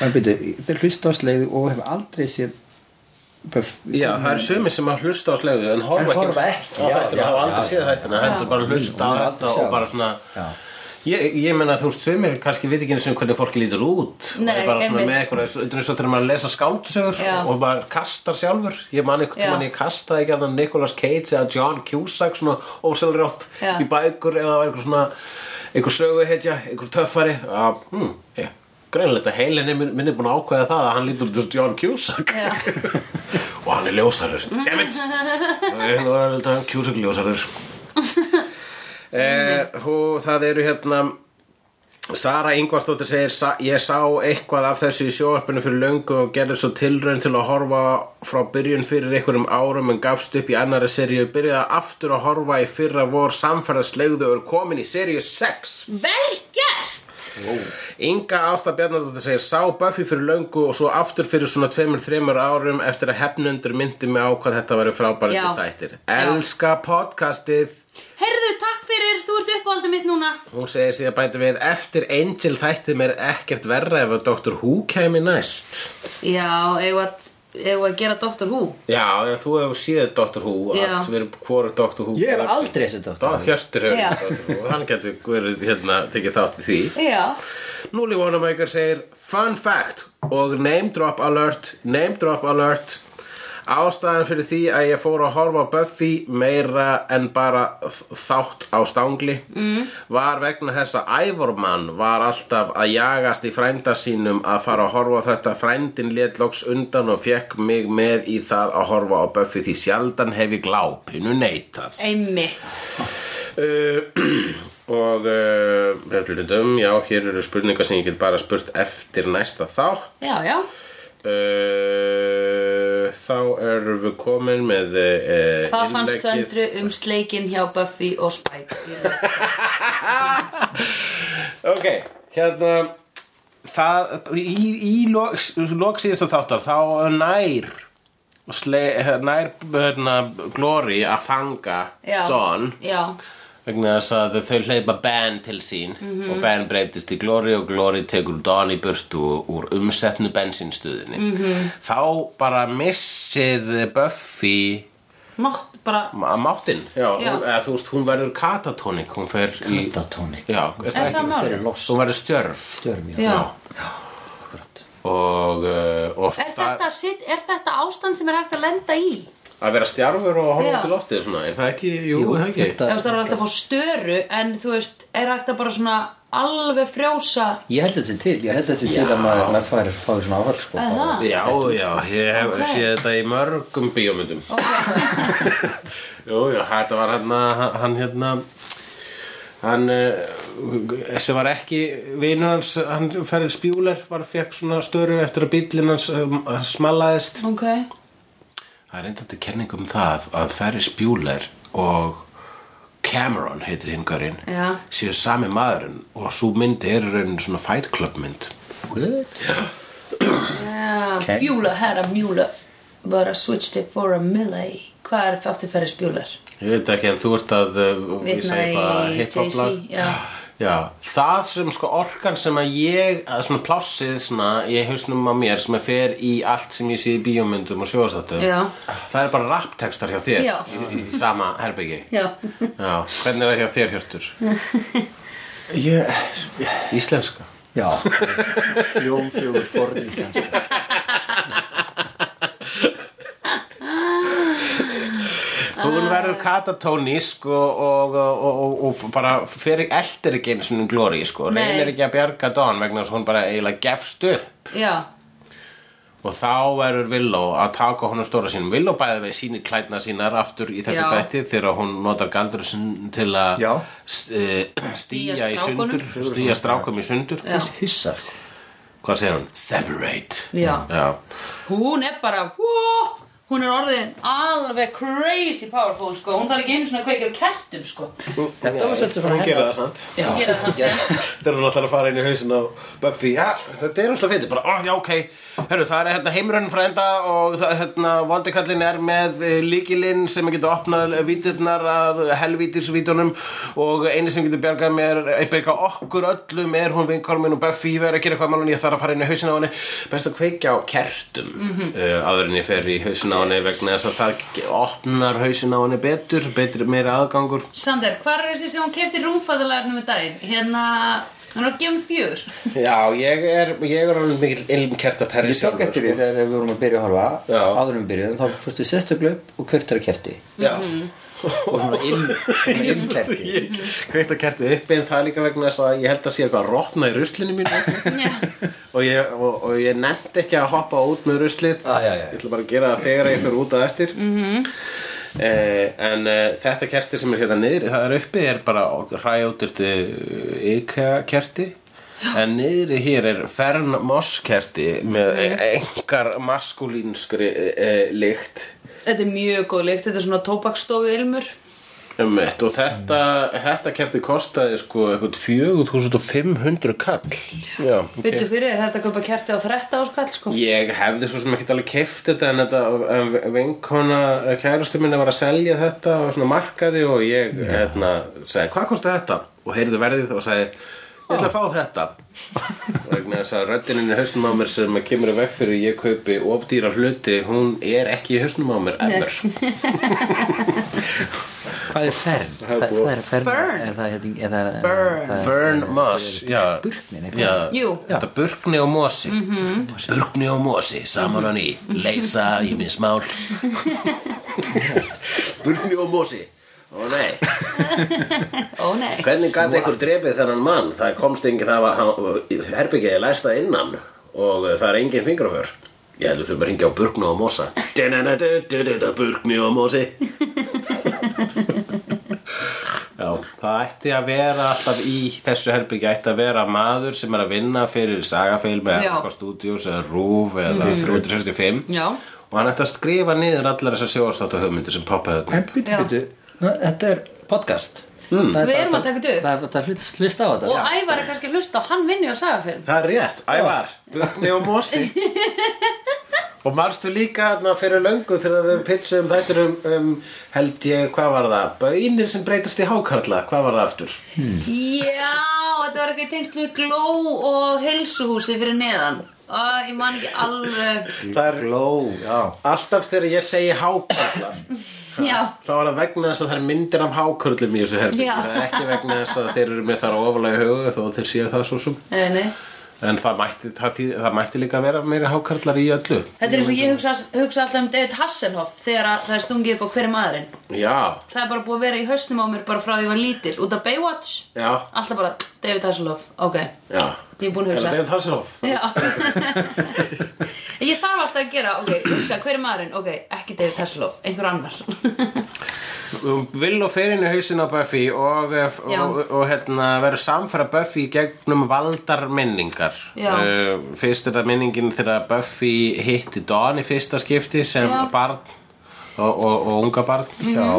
[SPEAKER 3] En byrju, þeir hlusta á sleið og hef aldrei séð Puff
[SPEAKER 2] Já, það eru sumi sem að hlusta á slegðu en horfa
[SPEAKER 3] En
[SPEAKER 2] ekki,
[SPEAKER 3] horfa ekki,
[SPEAKER 2] á
[SPEAKER 3] já,
[SPEAKER 2] þættina,
[SPEAKER 3] já,
[SPEAKER 2] hafa
[SPEAKER 3] já,
[SPEAKER 2] aldrei
[SPEAKER 3] já.
[SPEAKER 2] séð þættina heldur bara að hlusta á
[SPEAKER 3] Hún er aldrei
[SPEAKER 2] þetta
[SPEAKER 3] séð.
[SPEAKER 2] og bara svona
[SPEAKER 3] Já.
[SPEAKER 2] Ég, ég menna þú veist, sumir kannski veit ekki eins og hvernig fólki lítur út
[SPEAKER 1] Nei,
[SPEAKER 2] og er bara svona
[SPEAKER 1] einmitt.
[SPEAKER 2] með eitthvað, þetta er svo þegar maður lesa skáldsögur
[SPEAKER 1] Já.
[SPEAKER 2] og maður kastar sjálfur ég man eitthvað
[SPEAKER 1] Já.
[SPEAKER 2] tímann ég kastaði ekki að Nicolas Cage eða John Cusack svona ósælrjótt
[SPEAKER 1] Já.
[SPEAKER 2] í bækur eða það var eitthvað svona eitthvað söguhetja, eitthvað töffari að, hm, ég greinleita heilin er minn er búin að ákveða það að hann lítur út eins og John Cusack
[SPEAKER 1] Já.
[SPEAKER 2] og hann er ljósarur dammit nú um er þetta hann Cusack ljósarur eh, og það eru hérna Sara Ingvarsdóttir segir "Sa- ég sá eitthvað af þessu í sjóarpinu fyrir löngu og gerði svo tilraun til að horfa frá byrjun fyrir einhverjum árum en gafst upp í annari seríu byrjaði aftur að horfa í fyrra vor samferðaslegðu og er komin í seríu 6
[SPEAKER 1] Vel gert!
[SPEAKER 2] Inga Ásta Bjarnardóttir segir sá Buffy fyrir löngu og svo aftur fyrir svona tveimur, þreimur árum eftir að hefnundur myndi mig á hvað þetta væri frábærandi
[SPEAKER 1] Já.
[SPEAKER 2] þættir. Elska podcastið.
[SPEAKER 1] Heyrðu, takk fyrir, þú ert uppáhaldið mitt núna.
[SPEAKER 2] Hún segir síðan bæta við eftir Angel þættið mér ekkert verra ef að Dr. Who kemi næst.
[SPEAKER 1] Já, eigum að, eigum að gera Dr. Who.
[SPEAKER 2] Já, en þú hefur síðið Dr. Who,
[SPEAKER 1] Já.
[SPEAKER 2] allt við erum hvoru Dr. Who.
[SPEAKER 3] Ég hef aldrei þessu dótt
[SPEAKER 2] Dóttir Hjörtur
[SPEAKER 1] Já.
[SPEAKER 2] hefur Dr. Who, hann getur verið hérna tekið þátt í því.
[SPEAKER 1] Já.
[SPEAKER 2] Núli Wanamaker segir Fun fact og name drop alert Name drop alert Ástæðan fyrir því að ég fór að horfa á Buffy meira en bara þ- þátt á stangli mm. var vegna þess að Ævormann var alltaf að jagast í frænda sínum að fara að horfa á þetta frændin lét loks undan og fekk mig með í það að horfa á Buffy því sjaldan hef ég glápinu neitað
[SPEAKER 1] Einmitt.
[SPEAKER 2] Uh, og uh, við hlutum, já, hér eru spurningar sem ég get bara spurt eftir næsta þátt
[SPEAKER 1] Já, já.
[SPEAKER 2] uh, þá erum við komin með uh,
[SPEAKER 1] Hvað fannst Söndru um sleikin hjá Buffy og Spike? Ég-
[SPEAKER 2] ok, hérna það, í, í lok, lok síðasta þáttar þá nær sle, nær hérna, Glory að fanga
[SPEAKER 1] Já.
[SPEAKER 2] Dawn
[SPEAKER 1] Já.
[SPEAKER 2] vegna þess að þau hleypa Ben til sín
[SPEAKER 1] Mhm.
[SPEAKER 2] og Ben breytist í Glory og Glory tekur Don í burtu úr umsetnu bensinstuðinni
[SPEAKER 1] Mhm.
[SPEAKER 2] -hmm. þá bara missir Buffy
[SPEAKER 1] Mátt bara...
[SPEAKER 2] ma- máttinn já,
[SPEAKER 1] Já.
[SPEAKER 2] Hún, eða, þú veist, hún verður katatónik hún fer í
[SPEAKER 3] Katatónik
[SPEAKER 2] já, er það
[SPEAKER 1] Er
[SPEAKER 2] ekki?
[SPEAKER 1] það málið?
[SPEAKER 3] Fyrir loss
[SPEAKER 2] hún verður stjörf
[SPEAKER 3] Störm, já
[SPEAKER 1] Já.
[SPEAKER 3] Akkurat
[SPEAKER 2] og, uh, og
[SPEAKER 1] Er þetta, sit, er þetta ástand sem er hægt að lenda í?
[SPEAKER 2] að vera stjárfur og horfa
[SPEAKER 1] Já.
[SPEAKER 2] út í loftið svona, er það ekki, jú, er það ekki
[SPEAKER 1] Það er alltaf að fá störu en þú veist, er hægt að bara svona alveg frjósa
[SPEAKER 3] Ég held þetta sé til, ég held þetta sé til að maður maður fær fáið svona áfall sko
[SPEAKER 1] Er það?
[SPEAKER 2] Já, já, ég hef
[SPEAKER 1] Ok.
[SPEAKER 2] séð þetta í mörgum bíómyndum
[SPEAKER 1] okay.
[SPEAKER 2] Jú, jú, þetta var hérna, hann hérna, hann eh, sem var ekki vinur hans, hann ferðið spjúler, var fekk svona störu eftir að bíllinn hans um, smalaðist.
[SPEAKER 1] ok
[SPEAKER 2] Það er reyndandi kenning um það að ferðið spjúler og Cameron heitir hinn gaurinn,
[SPEAKER 1] Já.
[SPEAKER 2] séu sami maðurinn og svo myndi er raunin svona Fight Club mynd.
[SPEAKER 3] What?
[SPEAKER 1] yeah.
[SPEAKER 3] Ok.
[SPEAKER 1] Bjúla, herra mjúla bara switched it for a millay Hvað er aftur fyrir spjúlar?
[SPEAKER 2] Ég veit ekki en þú ert að uh, vísa
[SPEAKER 1] Vitna
[SPEAKER 2] í eitthvað
[SPEAKER 1] í
[SPEAKER 2] hip-hop
[SPEAKER 1] Jay-Z,
[SPEAKER 2] lag.
[SPEAKER 1] já.
[SPEAKER 2] já, það sem sko orkan sem að ég, að svona plássið svona, ég hausnum á mér sem að fer í allt sem ég sé í bíómyndum og sjóðastættum
[SPEAKER 1] Já.
[SPEAKER 2] Það er bara rapptekstar hjá þér
[SPEAKER 1] Já.
[SPEAKER 2] í, í, í sama herbyggi
[SPEAKER 1] Já,
[SPEAKER 2] Já, hvernig er það hjá þér Hjörtur?
[SPEAKER 4] Ég,
[SPEAKER 2] Íslenska
[SPEAKER 3] Já,
[SPEAKER 4] hljómfjögur forn íslensk
[SPEAKER 1] Ah.
[SPEAKER 2] Hún verður katatónísk og, og, og, og, og bara fer eldir ekki einu svona glóri sko,
[SPEAKER 1] Nei.
[SPEAKER 2] reynir ekki að bjarga Don vegna þess að hún bara eiginlega gefst upp
[SPEAKER 1] já,
[SPEAKER 2] Og þá verður Villó að taka honum stóra sínum. Villó bæði við síni klædna sínar aftur í þessu
[SPEAKER 1] Já.
[SPEAKER 2] dætti þegar hún notar galdur sinn til að
[SPEAKER 3] Já.
[SPEAKER 2] st- eh, stíja í
[SPEAKER 1] strákunum.
[SPEAKER 2] sundur, stíja strákum í sundur.
[SPEAKER 1] já.
[SPEAKER 3] hissa sko
[SPEAKER 2] Hvað segir hún? Separate.
[SPEAKER 1] Já.
[SPEAKER 2] Já.
[SPEAKER 1] Hún er bara hú, Hún er orðin alveg crazy powerful sko. Hún þarf ekki einu svona kveikja á kertum sko.
[SPEAKER 3] Þetta var svolítið svona
[SPEAKER 2] Hún gerir það sant.
[SPEAKER 3] Já,
[SPEAKER 1] Gera það samt.
[SPEAKER 2] Þetta er hún alltaf að fara inn í hausin á Buffy. Já, þetta er alltaf fyndið. Bara, ó, já, ok. Hörru, það er hérna heimrönnum frá enda og það, hérna, vondikallin er með eh, lykilinn sem getur opnað eh, vítirnar að helvítisvítunum og eini sem getur bjargað mér, eh, bjargað okkur öllum er hún vinkormin og Buffy verður að gera eitthvað málun ég þarf að fara inn í hausin á henni. Best að kveikja á kertum mm
[SPEAKER 3] Mhm.
[SPEAKER 2] -hmm. uh, áður en ég fer í hausin á henni vegna þess að það ge- opnar hausin á henni betur, betur meira aðgangur.
[SPEAKER 1] Sander, hvað er þessi sem hún kefti rúmfæðalagarnum í daginn? Hérna, hún er að gefa fjör
[SPEAKER 2] Já, ég er, ég er alveg mikill sko. ilmkerta perri
[SPEAKER 3] Ég tók eftir því þegar við vorum að byrja að horfa
[SPEAKER 2] Já.
[SPEAKER 3] áður en við byrjuðum, þá fórstu sérstaklega upp og kvektar að kerti
[SPEAKER 2] Já,
[SPEAKER 3] og svona inn, svona innkerti
[SPEAKER 2] Ég kveikt að kertu uppi en það er líka vegna þess að ég held að sé eitthvað að rotna í ruslinu mínu
[SPEAKER 1] Já,
[SPEAKER 2] og ég, og, og ég nefndi ekki að hoppa út með ruslið
[SPEAKER 3] Ah, já, já.
[SPEAKER 2] ég ætla bara að gera það þegar ég fyrir út að eftir mm en uh, þetta kerti sem er hérna niðri það er uppi er bara hræjóttirti IKEA kerti en niðri hér er Fern Moss kerti með engar maskulínskri uh, lykt
[SPEAKER 1] þetta er mjög góð lykt, þetta er svona tóbakstofu ilmur
[SPEAKER 2] um og þetta, þetta kerti kostaði sko eitthvað 4500 kall já, ok
[SPEAKER 1] Byttu fyrir þér, þetta kaupa kerti á 13 áskall sko
[SPEAKER 2] Ég hefði svo sem ekkert alveg keift þetta en þetta en vinkona kærastu minni var að selja þetta og svona markaði og ég hérna, segi, hvað kosti þetta? Og heyrði verðið og segi, ég ætla að fá þetta vegna þess að röddinin í hausnum á mér sem kemur í veg fyrir ég kaupi ofdýra hluti, hún er ekki í hausnum á mér ever
[SPEAKER 3] hvað er fern?
[SPEAKER 2] er
[SPEAKER 3] það,
[SPEAKER 2] búið.
[SPEAKER 3] það er fern,
[SPEAKER 1] Fern.
[SPEAKER 3] Er það, hérna- er það,
[SPEAKER 1] Fern.
[SPEAKER 3] það,
[SPEAKER 2] Fern Moss, já
[SPEAKER 3] Burknin, eitthvað.
[SPEAKER 2] Já,
[SPEAKER 1] Jú.
[SPEAKER 2] Þetta burkni og mosi Burkni og mosi, saman á ný Leysa í minn smál Burkni og mosi Ó nei,
[SPEAKER 1] Ó nei
[SPEAKER 2] hvernig gæti einhver drepið þennan mann? Það komst engin, það var hann- herbergið er læst að innan og eh, það er engin fingraför Ég heldur þurfum að ringja á burkni og mosa Du-du-du-du-du-du, Burkni og mosi Já, það ætti að vera alltaf í þessu herbyggi ætti að vera maður sem er að vinna fyrir sagafilm eða
[SPEAKER 1] Já. Mhm.
[SPEAKER 2] eitthvað stúdíus eða rúf eða 365
[SPEAKER 1] Já.
[SPEAKER 2] og hann ætti að skrifa niður allar þessar sjóðstáttu hugmyndir sem poppaði
[SPEAKER 3] En
[SPEAKER 2] þarna
[SPEAKER 3] byrju,
[SPEAKER 1] Já.
[SPEAKER 3] byrju, þetta er podcast
[SPEAKER 2] Hmm.
[SPEAKER 3] mm.
[SPEAKER 1] Við erum að taka þetta upp.
[SPEAKER 3] Það er bara að hlust- hlusta á þetta
[SPEAKER 1] Og Ævar er kannski að hlusta á hann vinni og saga fyrir
[SPEAKER 2] Það er rétt, ævar, Björni og Mosi Og marstu líka þarna fyrir löngu þegar við pitchum þættur um, um held ég, hvað var það, bönir sem breytast í hákarla, hvað var það aftur?
[SPEAKER 1] Já, þetta var eitthvað í tengslu við gló og heilsuhúsi fyrir neðan Ó, ég man ekki alveg
[SPEAKER 2] Það er
[SPEAKER 3] Gló, já
[SPEAKER 2] alltaf þegar ég segi hákarla
[SPEAKER 1] Já,
[SPEAKER 2] þá er það vegna þess að það er myndir af hákörlum í þessu herbyggi
[SPEAKER 1] Já.
[SPEAKER 2] það er ekki vegna þess að þeir eru með þar ofalega hugu þó að þeir séu það svo sem
[SPEAKER 1] nei, nei
[SPEAKER 2] en það mætti, það, þýð- það mætti líka vera meiri hákarlar í öllu
[SPEAKER 1] Þetta er eins og ég hugsa, hugsa alltaf um David Hasselhoff þegar að það er stungið upp á hverju maðurinn
[SPEAKER 2] já,
[SPEAKER 1] Það er bara búið að vera í höstnum á mér bara frá því ég var lítil Út af Baywatch
[SPEAKER 2] já,
[SPEAKER 1] Alltaf bara David Hasselhoff, ok
[SPEAKER 2] já
[SPEAKER 1] Ég er búin að
[SPEAKER 2] er
[SPEAKER 1] hugsa
[SPEAKER 2] það David Hasselhoff?
[SPEAKER 1] Já Ég þarf alltaf að gera, ok, hugsa, hver er maðurinn? Ok, ekki David Hasselhoff, einhver annar
[SPEAKER 2] Um, Vill og fer inn í hausin á Buffy og, og,
[SPEAKER 1] Já.
[SPEAKER 2] og, og hérna, verður samfæra Buffy í gegnum valdar minningar
[SPEAKER 1] Já.
[SPEAKER 2] uh, fyrst er það minningin þegar Buffy hitti Dawn í fyrsta skipti sem
[SPEAKER 1] Já. Mhm.
[SPEAKER 2] barn og, og, og unga barn
[SPEAKER 3] Já,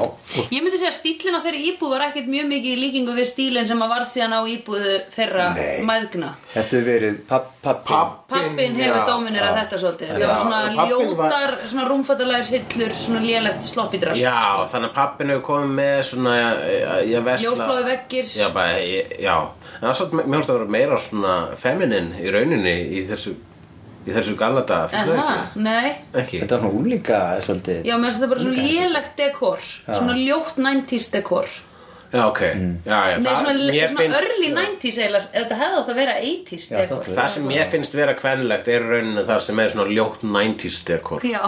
[SPEAKER 1] Ég myndi segja að stílinn á þeirri íbúð var ekkert mjög mikið í líkingu við stílinn sem að var síðan á íbúðu þeirra
[SPEAKER 3] Nei.
[SPEAKER 1] mæðgna
[SPEAKER 3] þetta hefur verið papp, papp
[SPEAKER 2] Pabbinn,
[SPEAKER 1] Pappin hefur
[SPEAKER 2] já.
[SPEAKER 1] dominirað þetta svolítið Það
[SPEAKER 2] Já,
[SPEAKER 1] var svona
[SPEAKER 2] pabbinn var-
[SPEAKER 1] ljótar, svona rúmfattalægis hillur, svona lélegt sloppidrast
[SPEAKER 2] Já, þannig að pappin hefur komið með svona ég- ég versla
[SPEAKER 1] Ljósbláu veggir.
[SPEAKER 2] Já, bara, ég, já En það er svolítið, mér finnst að vera meira svona feminin í rauninni í þessu, í þessu galata finnst þér
[SPEAKER 1] Aha, nei
[SPEAKER 2] ekki? Ekki
[SPEAKER 3] Þetta var nú úlíka svolítið
[SPEAKER 1] Já, mér finnst þetta bara svona lélegt dekor Svona ljótt 90s dekor
[SPEAKER 2] Já, ok Já, já,
[SPEAKER 1] Nei,
[SPEAKER 2] það,
[SPEAKER 1] svona, le-
[SPEAKER 2] mér
[SPEAKER 1] svona
[SPEAKER 2] finnst
[SPEAKER 1] early 90s eiginlega Þetta hefði átt að vera 80s
[SPEAKER 3] Já,
[SPEAKER 1] dekor
[SPEAKER 3] þetta átti
[SPEAKER 2] Það sem mér finnst vera kvenlegt er í rauninni það sem er svona ljótt 90s dekor
[SPEAKER 1] Já,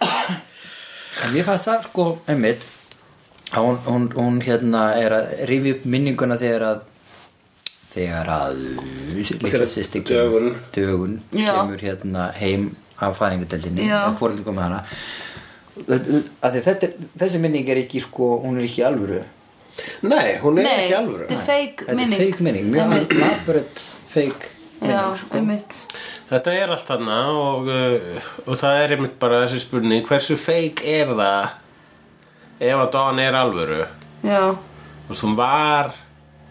[SPEAKER 3] En ég fannst það sko, einmitt að hún, hún, hún hérna er að rifi upp minninguna þegar að þegar að litla sýsti kemur- dögun
[SPEAKER 1] Já.
[SPEAKER 3] kemur hérna heim af fæðingadeldinni
[SPEAKER 1] Já.
[SPEAKER 3] að fóreldur koma hana að því að þetta, er- þessi minning er ekki sko, hún er ekki í alvöru
[SPEAKER 2] Nei, hún er
[SPEAKER 1] nei,
[SPEAKER 2] ekki alvöru
[SPEAKER 1] þetta er fake
[SPEAKER 3] þetta
[SPEAKER 1] minning
[SPEAKER 3] er feik minning, mjög labbröð feik
[SPEAKER 1] Já,
[SPEAKER 3] minning sko.
[SPEAKER 1] einmitt
[SPEAKER 2] Þetta er allt þarna og, uh, og það er einmitt bara þessi spurning hversu feik er það ef að Dawn er alvöru
[SPEAKER 1] Já,
[SPEAKER 2] og sem var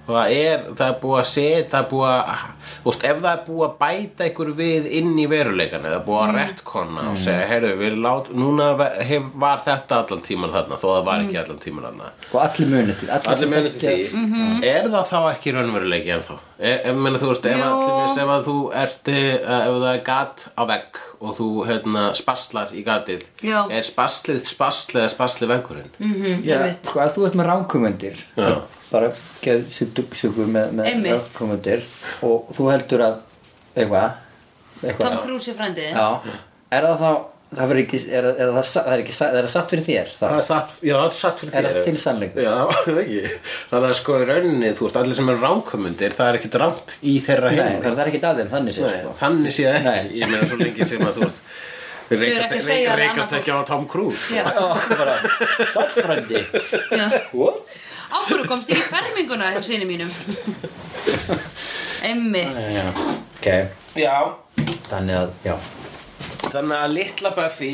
[SPEAKER 2] og það er, það er búið að setja það er búið að, þú veist, ef það er búið að bæta einhver við inn í veruleikan eða búið að mm. rettkonna og segja, heyrðu, við lát núna ve- hef, var þetta allan tíman þarna þó það var ekki allan tíman þarna
[SPEAKER 3] og sko, allir munið til
[SPEAKER 2] allir menn til því er það þá ekki raunveruleiki ennþá E, ef, ef, meina, þú veist, ef,
[SPEAKER 1] Jú.
[SPEAKER 2] allir, veist, ef að þú ert eh, ef það er gat á vegg og þú hérna, spaslar í gatið
[SPEAKER 1] Já.
[SPEAKER 2] er spaslið spaslið eða spaslið veggurinn mm.
[SPEAKER 3] Já,
[SPEAKER 1] Einmitt.
[SPEAKER 3] sko, að þú ert með ránkumundir
[SPEAKER 2] Já.
[SPEAKER 3] bara geð sér dugsugur með, með
[SPEAKER 1] Einmitt.
[SPEAKER 3] ránkumundir og þú heldur að eitthvað eitthvað
[SPEAKER 1] Tom Cruise er frændið
[SPEAKER 3] Já, er það þá það verður ekki, er, er, það, sa- það er ekki sa- það er satt fyrir þér þá.
[SPEAKER 2] Það er satt, já, það er satt fyrir
[SPEAKER 3] Er
[SPEAKER 2] þér.
[SPEAKER 3] það til sannleikur?
[SPEAKER 2] Já, það er ekki. Þannig að sko í rauninni, þú veist, allir sem eru ránkvömmundir, það er ekkit rámt í þeirra
[SPEAKER 3] Nei,
[SPEAKER 2] heim.
[SPEAKER 3] það það er ekki aðeim, þannig sko. sér
[SPEAKER 2] Nei, þannig sé það
[SPEAKER 3] Nei.
[SPEAKER 2] ekki. Ég meina svo lengi sem að þú veist, við
[SPEAKER 1] ekki að
[SPEAKER 2] reykast, reykast,
[SPEAKER 1] segja það annað
[SPEAKER 2] ekki á Tom Cruise.
[SPEAKER 1] Já,
[SPEAKER 3] sko. Saltbrandi
[SPEAKER 1] já. Af hverju komst ég í ferminguna hjá sinni mínum? Einmitt
[SPEAKER 3] Ok,
[SPEAKER 2] Já,
[SPEAKER 3] þannig að, já
[SPEAKER 2] Þannig að litla Buffy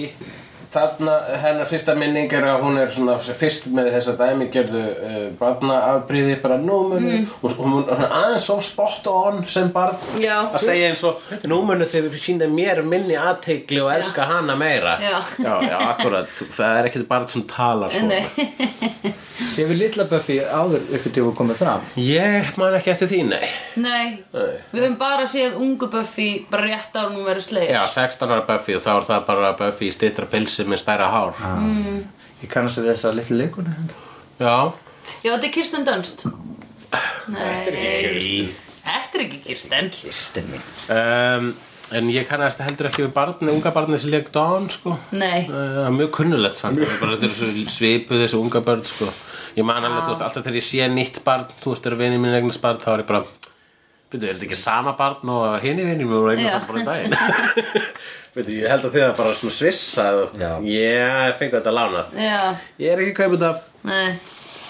[SPEAKER 2] Þarna hennar fyrsta minning er að hún er svona fyrst með þessa dæmigerðu uh, barnaafbríði bara nú munu
[SPEAKER 1] Mm.
[SPEAKER 2] og og hún er aðeins svo spot on sem barn
[SPEAKER 1] Já.
[SPEAKER 2] að segja eins og nú munu þau sína mér minni aðtegli og elska hana meira
[SPEAKER 1] Já.
[SPEAKER 2] já, já akkurat, Þú- það er ekkert barn sem talar sko. svona
[SPEAKER 1] Nei.
[SPEAKER 4] Hefur Lilla Buffy áður ykkur til að koma fram?
[SPEAKER 2] Ég man ekki eftir því, nei
[SPEAKER 1] Nei,
[SPEAKER 2] Nei.
[SPEAKER 1] við höfum bara séð ungu Buffy bara rétt ára hún verður sleið
[SPEAKER 2] Já, 16 ára Buffy og þá er það bara Buffy í stittra pilsi með stærra hár
[SPEAKER 4] Ég kannast við þessa litlu leikuna
[SPEAKER 2] Já,
[SPEAKER 1] Já, þetta er Kirsten Dunst Nei, þetta er ekki Kirsten
[SPEAKER 3] Kristinn mín
[SPEAKER 2] um, En ég kannast heldur ekki við barni, unga barni sem leik Dawn sko
[SPEAKER 1] Nei,
[SPEAKER 2] Það er mjög kunnulegt samt Það er bara þetta er svo svipuð þessi unga börn sko Ég man alveg, þú veist, alltaf þegar ég sé nýtt barn Þú veist, þegar vinið minn eignast barn Þá er ég bara, veitu, er þetta ekki sama barn Og hini vinið minn voru eignast
[SPEAKER 1] Já.
[SPEAKER 2] hann bara um daginn Veitu, ég held að þið það bara svona svissa
[SPEAKER 3] Já.
[SPEAKER 2] Ég fengu þetta lánað
[SPEAKER 1] já,
[SPEAKER 2] Ég er ekki kaupið þetta
[SPEAKER 1] nei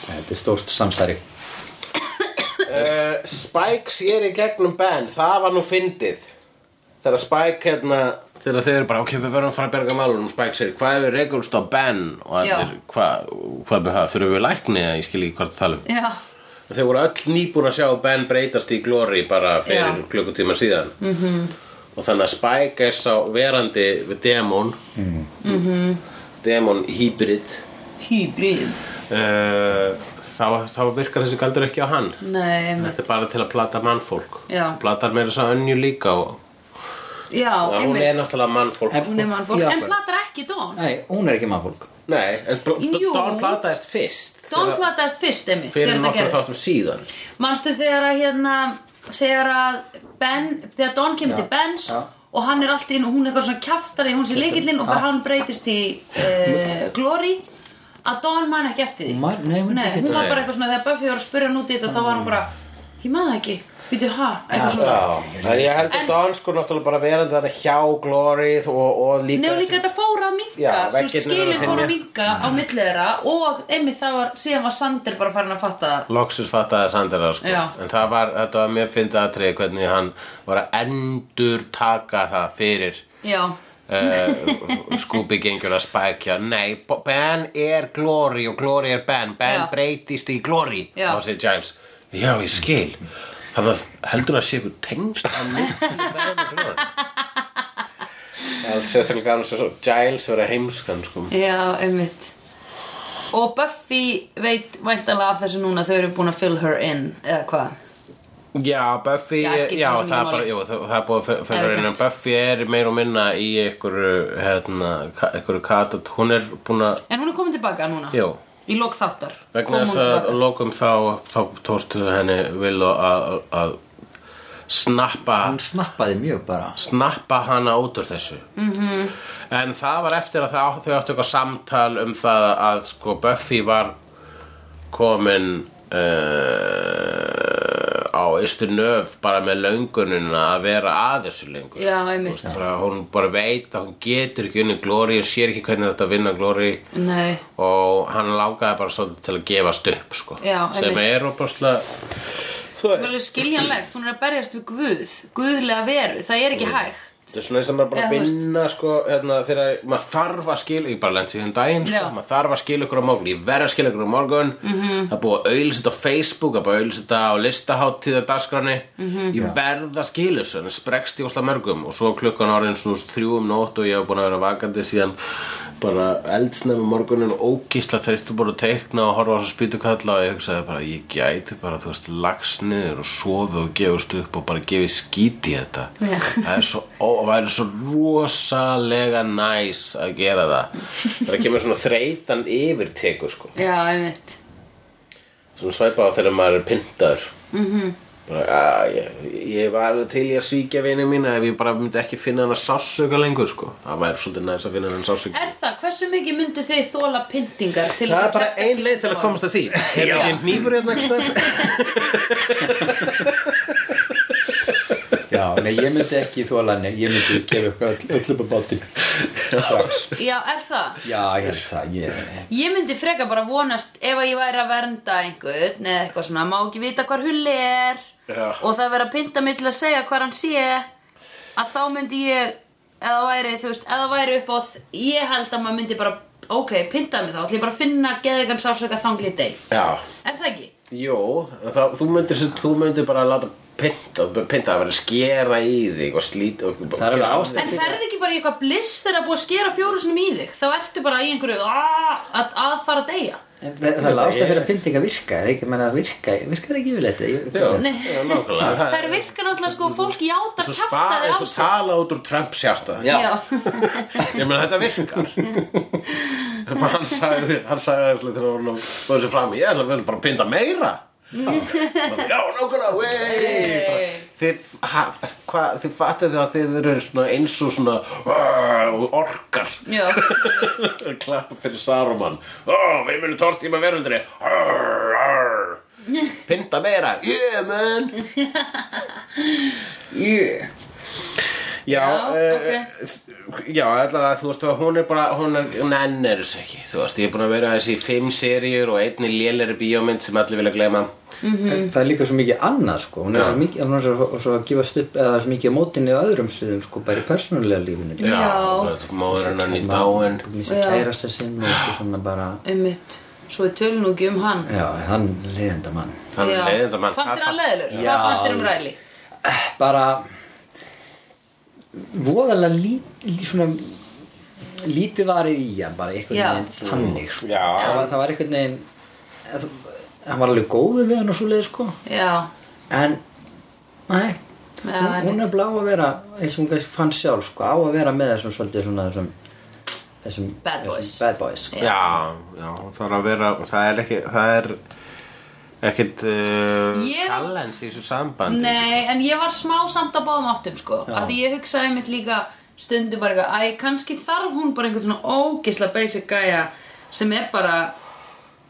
[SPEAKER 3] Þetta er stórt samsæri
[SPEAKER 2] Uh, Spike sér í gegnum Ben Það var nú fyndið Þegar Spike hérna Þegar þeir eru bara, ok, við verðum að fara að berga málunum Spike sér, hvað ef við rekumst á Ben Og allir,
[SPEAKER 1] Já.
[SPEAKER 2] hvað, hvað með það Þurfum við lækni, eða ég skil ekki hvað það tala um
[SPEAKER 1] Já,
[SPEAKER 2] Þau voru öll nýbúin að sjá Ben breytast í glóri Bara fyrir
[SPEAKER 1] Já. Mhm.
[SPEAKER 2] klukkutíma síðan -hmm. Og þannig að Spike er sá verandi Demon mm
[SPEAKER 1] Mhm.
[SPEAKER 2] -hmm. Demon hybrid
[SPEAKER 1] hýbríð
[SPEAKER 2] uh, þá, þá virkar þessi galdur ekki á hann
[SPEAKER 1] Nei, einmitt.
[SPEAKER 2] Þetta er bara til að plata mannfólk
[SPEAKER 1] Já.
[SPEAKER 2] Platar meira þess að önju líka og,
[SPEAKER 1] já,
[SPEAKER 2] Já, Hún er
[SPEAKER 1] einmitt
[SPEAKER 2] náttúrulega mannfólk
[SPEAKER 3] En-
[SPEAKER 1] Hún er mannfólk,
[SPEAKER 3] Já.
[SPEAKER 1] en platar ekki Don
[SPEAKER 3] Nei, hún er ekki mannfólk
[SPEAKER 2] Nei, en pl- pl-
[SPEAKER 1] Jú.
[SPEAKER 2] Don plataðist fyrst
[SPEAKER 1] Don
[SPEAKER 2] Þegar-
[SPEAKER 1] plataðist fyrst, einmitt,
[SPEAKER 2] Fyrir
[SPEAKER 1] þegar þetta
[SPEAKER 2] nokkur
[SPEAKER 1] gerðist
[SPEAKER 2] þáttum síðan
[SPEAKER 1] Manstu þegar að hérna þegar að Ben þegar Don kemur
[SPEAKER 3] Já,
[SPEAKER 1] til Bens
[SPEAKER 3] já.
[SPEAKER 1] og hann er allt inn og hún er eitthvað svona kjaftaði hún sé leikillinn og bara hann breytist í uh, Glory að Don man ekki eftir því
[SPEAKER 3] Hún man- nei, hún
[SPEAKER 1] hún,
[SPEAKER 3] ekki
[SPEAKER 1] var
[SPEAKER 2] eftir-
[SPEAKER 1] bara eitthvað svona þegar Buffy var að spyrja hann út í þetta þá var hann bara ég man það ekki, býtu ha eitthvað svona
[SPEAKER 2] en ég held að Don sko náttúrulega bara verandi þarna hjá Glory og, og líka
[SPEAKER 1] Nei og líka
[SPEAKER 2] þessi-
[SPEAKER 1] þetta fór að minka,
[SPEAKER 2] Já, veggirnir eru að
[SPEAKER 1] skilin fór
[SPEAKER 2] hrynja. Mm.
[SPEAKER 1] að minka á milli þeirra og einmitt það var, síðan var Sander bara farin að fatta það
[SPEAKER 2] Loksins fattaði Sandra sko
[SPEAKER 1] Já.
[SPEAKER 2] En það var, þetta var mjög fyndið aðtrið hvernig hann var að endur taka það fyrir
[SPEAKER 1] Já,
[SPEAKER 2] uh, Scooby gengur að spækja Nei, Bo- Ben er Glory og Glory er Ben Ben
[SPEAKER 1] Já.
[SPEAKER 2] breytist í Glory
[SPEAKER 1] Já.
[SPEAKER 2] og segir Giles Já, ég skil Þannig að heldur að sé ykkur tengst á myndinni Ben og Glory Sérstaklega gæðan svo Giles vera heimskan sko
[SPEAKER 1] Já, einmitt Og Buffy veit væntanlega af þessu núna þau eru búin að fill her in eða hvað
[SPEAKER 2] Já, Buffy,
[SPEAKER 1] Já,
[SPEAKER 2] já,
[SPEAKER 1] skiptir svo mikið
[SPEAKER 2] það, er
[SPEAKER 1] máli.
[SPEAKER 2] bara, jú, það, það er búið að
[SPEAKER 1] Það er
[SPEAKER 2] fyrir henni
[SPEAKER 1] rétt.
[SPEAKER 2] Buffy er meir og minna í einhverju hérna, ka- einhverju katat hún er búin að
[SPEAKER 1] En hún er komin tilbaka núna
[SPEAKER 2] Jú.
[SPEAKER 1] Í lok þáttar
[SPEAKER 2] vegna
[SPEAKER 1] Kom
[SPEAKER 2] þess
[SPEAKER 1] hún
[SPEAKER 2] að
[SPEAKER 1] tilbaka.
[SPEAKER 2] að lokum þá, þá tóstu henni vil að, að snappa
[SPEAKER 3] Hún snappaði mjög bara
[SPEAKER 2] snappa hana út úr þessu
[SPEAKER 1] Mhm.
[SPEAKER 2] -hmm. en það var eftir að það, þau áttu eitthvað samtal um það að sko Buffy var komin uh, á ystu nöf bara með löngununa að vera að þessu lengur
[SPEAKER 1] Já, einmitt.
[SPEAKER 2] Þú veist, bara, hún bara veit að hún getur ekki unni glóri og sér ekki hvernig þetta vinna glóri
[SPEAKER 1] Nei,
[SPEAKER 2] og hann lágaði bara svolítið til að gefast upp sko.
[SPEAKER 1] Já,
[SPEAKER 2] sem
[SPEAKER 1] einmitt.
[SPEAKER 2] er opaslega þú
[SPEAKER 1] hún er
[SPEAKER 2] veist
[SPEAKER 1] alveg skiljanlegt Hún er að berjast við guð Guðlega veru, það er ekki
[SPEAKER 2] Mm.
[SPEAKER 1] hægt
[SPEAKER 2] þetta er svona eins og maður bara
[SPEAKER 1] Já, þú
[SPEAKER 2] að
[SPEAKER 1] veist.
[SPEAKER 2] vinna sko, hérna, þegar maður þarf að skila ég bara lendi í þenn daginn sko,
[SPEAKER 1] Já. Mhm.
[SPEAKER 2] maður þarf að skila ykkur á morgun ég verð að skila ykkur á morgun -hmm. það er búið að auðlýsa á Facebook það er búið að auðlýsa á listaháttíða dagskráni
[SPEAKER 1] Mhm.
[SPEAKER 2] -hmm. ég verð að skila þessu en það sprekst í ósla mörgum og svo klukkan orðin svona þrjúum nótt og ég hef búin að vera vakandi síðan bara eldsnefum morgunin og ógísla þreyttu bara að teikna og horfa á þess að spýtu kalla og ég hugsaði bara ég gæti bara þú veist lags niður og sofi og gefist upp og bara gefi skíti í þetta
[SPEAKER 1] Já.
[SPEAKER 2] það er svo, ó, það er svo rosalega næs að gera það það kemur svona þreytan yfir teku sko
[SPEAKER 1] Já, einmitt
[SPEAKER 2] svona svæpa á þegar maður er pyntaður mm bara, að, ég, ég var alveg til í að svíkja vinið mína ef ég bara myndi ekki finna hann að sásauka lengur sko. það væri svolítið næst að finna hann að sásauka
[SPEAKER 1] Er það, hversu mikið myndu þið þóla pyntingar til
[SPEAKER 2] það
[SPEAKER 1] þess
[SPEAKER 2] er bara
[SPEAKER 1] kjafta
[SPEAKER 2] ein leið til að
[SPEAKER 1] kjaftamál?
[SPEAKER 2] komast að því hefur ekki einn nýfur hérna ekki stað
[SPEAKER 3] Já, nei, ég myndi ekki þóla hann Ég myndi gefa ykkur öll, öll upp á báti Strax
[SPEAKER 1] Já, er það
[SPEAKER 3] Já, ég held það ég,
[SPEAKER 1] Ég myndi freka bara vonast ef að ég væri að vernda einhvern eða eitthvað svona, má ekki vita hvar hulli er
[SPEAKER 2] Já.
[SPEAKER 1] og það verið að pynta mig til að segja hvar hann sé að þá myndi ég eða væri, þú veist, eða væri upp á þ- ég held að maður myndi bara ok, pynta mig þá, ætla ég bara að finna geðigan sásöka þanglið deg,
[SPEAKER 2] já,
[SPEAKER 1] er það ekki?
[SPEAKER 2] jú en það, þú, myndir, þú myndir bara að láta pynta, pynta að vera að skera í þig og slíta og,
[SPEAKER 3] Það er alveg ástæða
[SPEAKER 1] En ferði ekki bara í eitthvað bliss þegar að búið að skera fjórusunum í þig Þá ertu bara í einhverju "Ah, að, að fara að deyja
[SPEAKER 3] En það, það er ástæð fyrir að pyntinga virka eða ekki, menna virka, virkar ekki yfirleitt ég,
[SPEAKER 2] já,
[SPEAKER 1] Nei.
[SPEAKER 2] já, nákvæmlega það
[SPEAKER 1] Þær virka náttúrulega sko fólk játa
[SPEAKER 2] Svo
[SPEAKER 1] kæfta
[SPEAKER 2] spa-
[SPEAKER 1] þér á
[SPEAKER 2] eins og
[SPEAKER 1] sig
[SPEAKER 2] tala út úr Trumps hjarta
[SPEAKER 3] Já.
[SPEAKER 1] Já,
[SPEAKER 2] Ég meina þetta virkar Bara hann sagði hann sagði þessu þegar hann búið sér fram Ég ætla að vel bara að pinda meira Bara, Já, nákvæmlega wey." Bara, Þið, ha, hva, þið fattið þið að þið eru svona eins og svona "Arr", orkar
[SPEAKER 1] já
[SPEAKER 2] klappa fyrir Saruman Ó, við munum tortíma veröldri Arr, arr. Pinda meira Yeah, man
[SPEAKER 1] yeah.
[SPEAKER 2] Já,
[SPEAKER 1] Já,
[SPEAKER 2] eh,
[SPEAKER 1] ok.
[SPEAKER 2] eh, já allavega, þú veist, hún er bara, hún er, hún ennir þessu ekki, þú veist, ég er búin að vera þessi í fimm seríur og einni lélæri bíómynd sem allir vilja gleyma.
[SPEAKER 3] En það er líka svo mikið annað sko hún er svo mikið, hún er svo, svo að gefast upp eða svo mikið á mótinni á öðrum sviðum sko bara í persónulega lífinu líka.
[SPEAKER 1] Já.
[SPEAKER 2] Móður hennan í dáin.
[SPEAKER 3] Missi
[SPEAKER 1] Já.
[SPEAKER 3] kærasta sinn og eitthvað svona bara
[SPEAKER 1] Einmitt, svo við tölum nú ekki um hann
[SPEAKER 3] Já, hann leiðenda mann
[SPEAKER 2] Þannig
[SPEAKER 1] Já.
[SPEAKER 2] leiðinda mann.
[SPEAKER 1] Fannst þér hann leðilur?
[SPEAKER 3] Já.
[SPEAKER 1] Hvað fannst þér um ræli?
[SPEAKER 3] bara voðalega lí, lí, svona lítið varið í hann bara einhvern
[SPEAKER 1] Já.
[SPEAKER 3] veginn þannig sko.
[SPEAKER 2] Já.
[SPEAKER 3] það, var, það var einhvern veginn eða þú- hann var alveg góður við hann og svo leið sko
[SPEAKER 1] Já,
[SPEAKER 3] en nei,
[SPEAKER 1] Já,
[SPEAKER 3] hún,
[SPEAKER 1] einmitt.
[SPEAKER 3] hún er blá að vera eins og hún kannski fann sjálf sko, á að vera með þessum svolítið svona þessum, þessum
[SPEAKER 1] Bad boys.
[SPEAKER 3] þessum bad boys sko.
[SPEAKER 2] Já, já, það er að vera, það er ekki, það er ekkit uh,
[SPEAKER 1] Ég-
[SPEAKER 2] challenge í þessu sambandi.
[SPEAKER 1] Nei, en ég var smá samt að báðum áttum sko Af því ég hugsaði mitt líka stundum bara eitthvað Æ, kannski þarf hún bara einhvern svona ógisla basic gæja Sem er bara